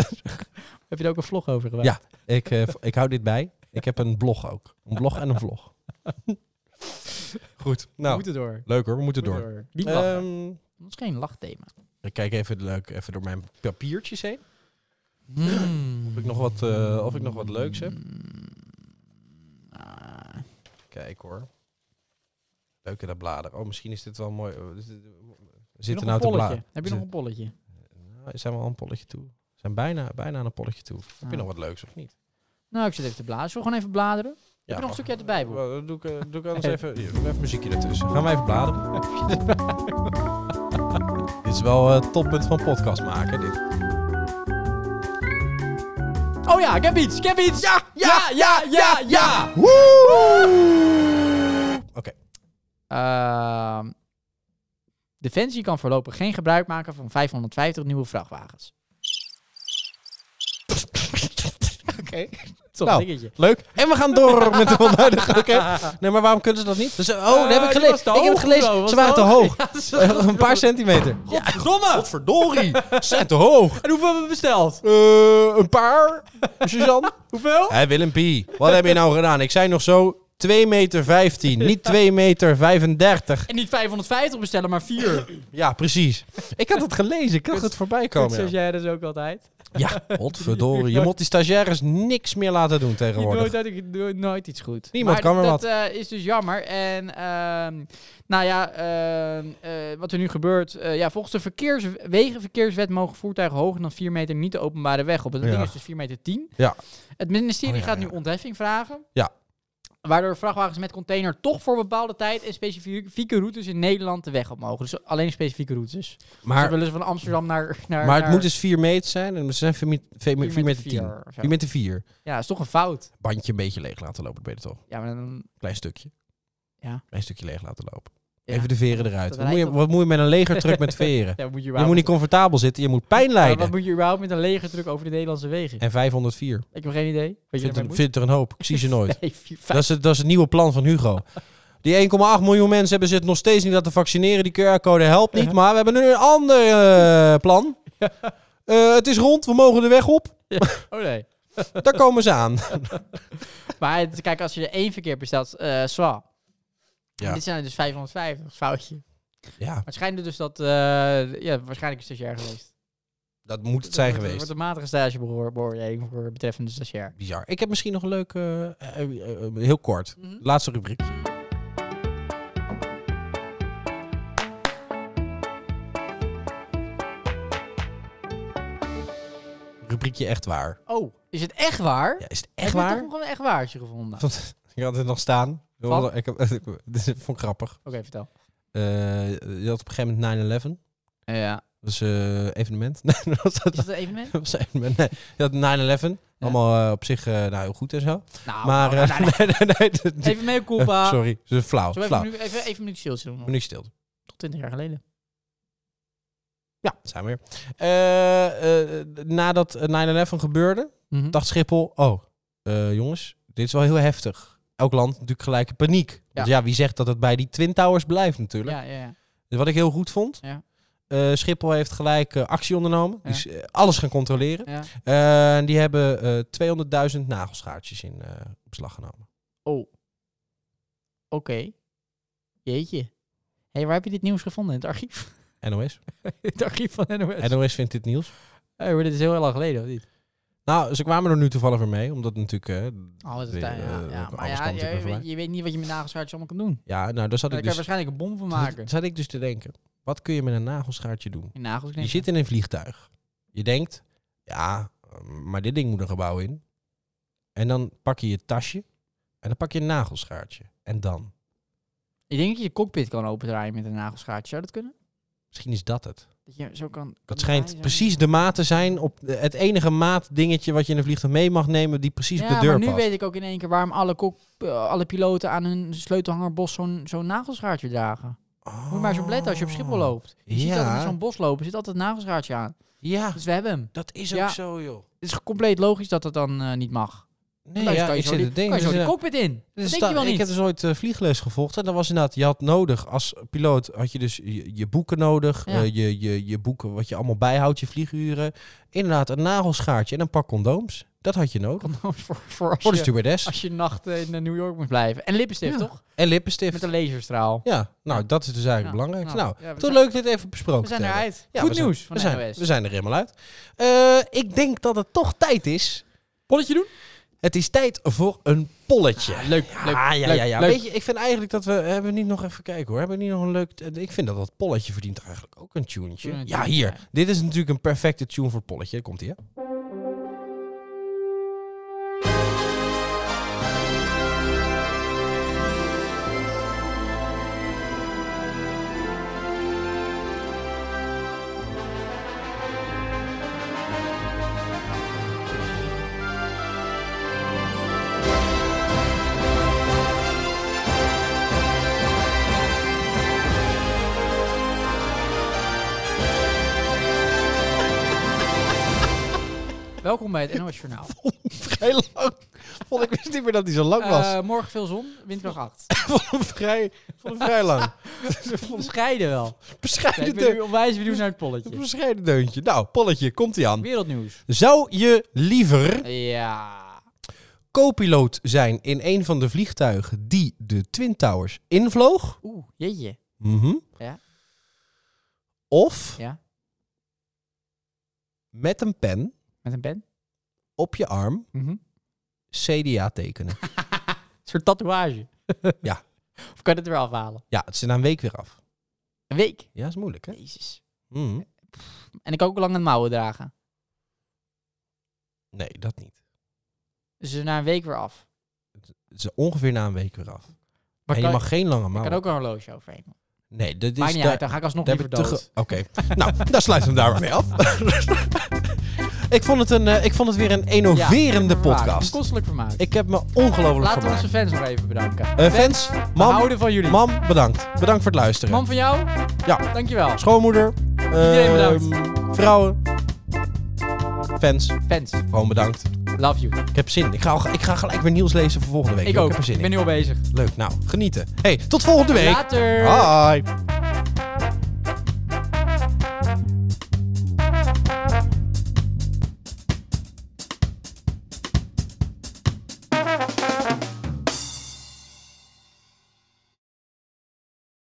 Heb je er ook een vlog over gemaakt?
Ja. ik, eh, v- ik hou dit bij. Ik heb een blog ook. Een blog en een vlog. Goed.
We
Nou,
moeten door.
leuk hoor. We moeten
We
door.
moeten Niet lachen.
Ehm,
Dat is geen lachthema.
ik kijk even, leuk, even door mijn papiertjes heen.
Hmm.
Of ik nog wat, eh, of ik nog wat leuks heb.
Ah,
Kijk hoor. Leuk in dat bladen. Oh, misschien is dit wel mooi. Eh, is dit-
heb je nog
Zitten
een
nou te
bolletje?
bladeren?
Heb je nog een bolletje?
Nou, zijn we al een polletje toe? Zijn bijna, bijna aan een polletje toe. Heb je
Ah.
nog wat leuks of niet?
Nou, ik zit even te bladeren. Zullen we gewoon even bladeren? nog een
mag.
stukje uit de Bijbel?
Wel, dan Doe ik, eh, doe ik anders even, hier, doe even muziekje ertussen. Gaan we even bladeren. dit is wel eh, het toppunt van podcast maken. Dit.
Oh ja, ik heb iets! Ik heb iets! Ja! Ja! Ja! Ja! Ja!
Oké.
Ehm, Defensie kan voorlopig geen gebruik maken van 550 nieuwe vrachtwagens. Oké. Dat is wel een
Nou,
dingetje.
Leuk. En we gaan door met de onduidelijke. Oké. Nee, maar waarom kunnen ze dat niet? Dus, oh, dat heb
Eh,
ik
die
gelezen.
was te
Ik heb het
hoog,
gelezen.
bro. Was
Ze waren te hoog.
Ja, ze-
Eh, een paar centimeter.
Godverdomme!
Godverdorie. Ze zijn te hoog.
En hoeveel hebben we besteld?
Eh, een paar. Suzanne.
Hoeveel?
Hé Willem Pie, wat heb je nou gedaan? Ik zei nog zo 2 meter 15, niet 2 meter 35.
En niet 550 bestellen, maar
Oh,
4.
Ja, precies. Ik had het gelezen, ik had het voorbij komen. Ja,
jij dus ook altijd.
ja godverdorie. Je moet die stagiaires niks meer laten doen
Ik doe nooit,
tegenwoordig.
uit- ik doe nooit iets goed.
Niemand kan
maar
meer
dat eh, is dus jammer. En ehm, nou ja, ehm, eh, wat er nu gebeurt. eh, ja, volgens de verkeers, wegenverkeerswet mogen voertuigen hoger dan 4 meter niet de openbare weg op. Dat
Ja.
ding is dus 4 meter 10.
Ja.
Het ministerie
Oh, ja,
gaat nu
ja.
ontheffing vragen.
Ja.
Waardoor vrachtwagens met container toch voor bepaalde tijd en specifieke routes in Nederland de weg op mogen. Dus alleen specifieke routes. Maar, ze
Maar,
willen ze van Amsterdam naar... naar
maar het
naar
moet dus 4 meter zijn en ze zijn 4 meter 10. 4 meter 4
vier of zo.
meter 4.
Ja, is toch een fout.
Bandje een beetje leeg laten lopen, dat ben je toch?
Ja, maar dan...
Klein stukje.
Ja.
Klein stukje leeg laten lopen.
Ja.
Even de veren eruit.
Dat
Wat moet je,
lijkt op-
wat moet je met een legertruck met veren?
Ja, moet je,
Je moet niet comfortabel zitten, je moet pijn
Maar wat
lijden.
moet je überhaupt met een legerdruk over de Nederlandse wegen?
En 504.
Ik heb geen idee. Weet je
Vindt
ermee
er,
moet?
vindt er een hoop. Ik zie ze nooit.
Nee, vier, vijf.
Dat is, het, dat is het nieuwe plan van Hugo. Die 1,8 miljoen mensen hebben zich nog steeds niet laten vaccineren. Die QR-code helpt niet. Maar we hebben nu een ander eh, plan. Eh, het is rond, we mogen de weg op.
Oh nee.
Daar komen ze aan.
Maar het- kijk, als je er één verkeer bestelt, eh zwa.
Ja.
Dit zijn er dus 550, foutje. Maar
Ja,
het schijnt dus dat... eh, ja, waarschijnlijk is stagiair geweest.
dat moet het zijn
Het wordt-
geweest.
wordt een matige stagebeoordeling voor betreffende stagiair.
Bizar. Ik heb misschien nog een leuk, eh, eh, eh, eh, heel kort,
Mhm.
laatste rubriek. Rubriekje echt waar.
Oh, is het echt waar?
Ja, is het
Heb
echt
je
waar?
toch nog een echt waartje gevonden? Oké,
Vond- ik had het nog staan.
Van?
Ik, heb- ik, dit vond ik grappig.
vertel.
Eh, je had op een gegeven moment 9-11. Dat
Ja.
was eh evenement. Nee, dat was,
Is dat een evenement?
dat was evenement. Nee, je had 9-11. Allemaal eh, op zich eh, nou, heel goed en zo.
Nou,
maar...
nou,
eh,
nou, nou,
nee, nee, nee, dat- die-
even mee, Koepa. Zullen
Eh, sorry, ze is flauw.
we
flauw.
even, nu, even, even een minuut stilte doen? nog?
Minuut stilte.
Tot 20 jaar geleden.
Ja, zijn we weer. Eh, eh, nadat eh, 9-11 gebeurde,
Mhm.
dacht Schiphol... Oh, eh, jongens, dit is wel heel heftig. Elk land natuurlijk gelijk in paniek. Want ja, wie zegt dat het bij die Twin Towers blijft natuurlijk.
Ja, ja, ja.
Dus wat ik heel goed vond.
Ja.
eh, Schiphol heeft gelijk eh, actie ondernomen.
Ja.
Dus eh, alles gaan controleren.
ja.
Eh, en die hebben eh 200.000 nagelschaartjes in eh beslag genomen.
Oh. Oké. Jeetje. Hé, hey, waar heb je dit nieuws gevonden? In het archief?
NOS.
In het archief van NOS.
NOS vindt dit nieuws.
Hey, maar dit is heel lang geleden, of niet?
Nou, ze kwamen er nu toevallig weer mee. Omdat natuurlijk... eh,
Oh, dat is
weer,
daar,
eh,
ja. ja,
alles
Maar ja,
kwam natuurlijk weer
je,
voorbij.
je weet niet wat je met nagelschaartjes allemaal kan doen.
Ja, nou, daar zat ik
Daar kan je
dus...
waarschijnlijk een bom van
daar
maken.
zat ik dus te denken. Wat kun je met een nagelschaartje doen?
In nagels
Je zit in een vliegtuig. Je denkt, ja, ehm, maar dit ding moet een gebouw in. En dan pak je je tasje. En dan pak je een nagelschaartje. En dan?
Ik denk dat je je cockpit kan opendraaien met een nagelschaartje. Zou dat kunnen?
Misschien is dat het.
Dat je zo kan... kan
Dat schijnt
draaien, zo.
precies de maat te zijn op de- het enige maat dingetje wat je in een vliegtuig mee mag nemen die precies
ja,
op de deur
maar nu
past.
weet ik ook in één keer waarom alle, kok, eh, alle piloten aan hun sleutelhangerbos zo'n zo'n nagelschaartje dragen.
Oh.
Moet je maar zo opletten als je op Schiphol loopt. Je ziet
Ja.
altijd met zo'n bos lopen, er zit altijd een nagelschaartje aan.
Ja,
Dus we hebben hem.
dat is
Ja.
zo joh.
Het is compleet logisch dat dat dan eh, niet mag.
Nee,
Daar
ja,
kan je
ik
zo
zit
die,
te denken.
kan je zo
dus,
die
eh,
cockpit in.
er
Dat denk
sta-
je wel
Ik
niet.
heb dus ooit eh, vliegles gevolgd. En dan was inderdaad, je had nodig, als piloot had je dus je, je boeken nodig.
Ja.
eh, je, je, je boeken wat je allemaal bijhoudt, je vlieguren. Inderdaad, een nagelschaartje en een pak condooms. Dat had je nodig.
Condooms voor, voor
Voor de
als, je,
stewardess.
als je nacht eh, in eh, New York moet blijven. En lippenstift,
Ja.
toch?
En lippenstift.
Met een laserstraal.
Ja, nou, dat is dus eigenlijk
Ja.
belangrijk.
Nou,
Nou,
ja, we
toch
zijn-
leuk dit even besproken
We zijn
te hebben.
eruit.
Ja,
Goed
we zijn-
nieuws van
We
de
zijn,
NOS.
we zijn er helemaal uit. Eh, ik denk dat het toch tijd is.
Polletje doen?
Het is tijd voor een polletje.
Leuk,
Ja,
leuk,
Ah, ja,
leuk,
ja, ja.
leuk.
Weet je, ik vind eigenlijk dat we... eh, Hebben we niet nog even kijken hoor. Hebben we niet nog een leuk... eh, Ik vind dat dat polletje verdient eigenlijk ook een tunetje.
Tuurlijk,
Ja,
tuurlijk,
hier.
ja.
Dit is natuurlijk een perfecte tune voor het polletje. Komt hier.
Welkom bij het NOS Journaal.
Vrij lang. Vond ik wist niet meer dat hij zo lang was.
Eh, morgen veel zon, windkracht 8.
vond hem vrij, vond hem vrij lang.
Bescheiden wel. Nee,
Bescheiden
ik ben nu
deuntje.
onwijs benieuwd naar het polletje.
Bescheiden deuntje. Nou, polletje. Komt ie aan.
Wereldnieuws.
Zou je liever...
Ja.
co-piloot zijn in een van de vliegtuigen die de Twin Towers invloog.
Oeh, jeetje.
Mhm.
Ja.
Of
Ja.
met een pen
Met een pen?
op je arm
Mhm.
CDA tekenen.
Een soort tatoeage.
Ja.
Of kan je het er weer afhalen?
ja, het is na een week weer af.
Een week.
Ja, is moeilijk, hè?
Jezus.
Mhm.
En ik kan ook lang een mouwen dragen.
Nee, dat niet.
Dus ze na een week weer af.
Het is ongeveer na een week weer af.
Maar
en
kan,
je mag geen lange
ik
mouwen.
kan ook een horloge overheen.
Nee, dat is
Maakt niet
daar-
uit, dan ga ik alsnog
daar
liever
heb ik te
dood.
ge- Oké, nou, dan sluiten we hem daar maar mee af. ik, vond het een, eh, ik vond het weer een
Ja,
innoverende
vermaak.
podcast.
Kostelijk vermaak.
Ik heb me ongelooflijk
Laten we
vermaakt.
onze fans nog even bedanken.
Eh, fans,
We
mam,
houden van jullie.
mam, bedankt. Bedankt voor het luisteren.
Mam van jou?
Ja.
Dankjewel.
Schoonmoeder.
Iedereen
eh,
bedankt.
Vrouwen. Fans,
Fans,
gewoon bedankt.
love you.
Ik heb zin. Ik ga, al- ik ga gelijk weer nieuws lezen voor volgende week.
Ik
joh.
ook.
Ik heb er
Ik
zin
ben
in.
nu al bezig.
Leuk, nou, genieten. Hey, tot volgende week.
Later.
Bye.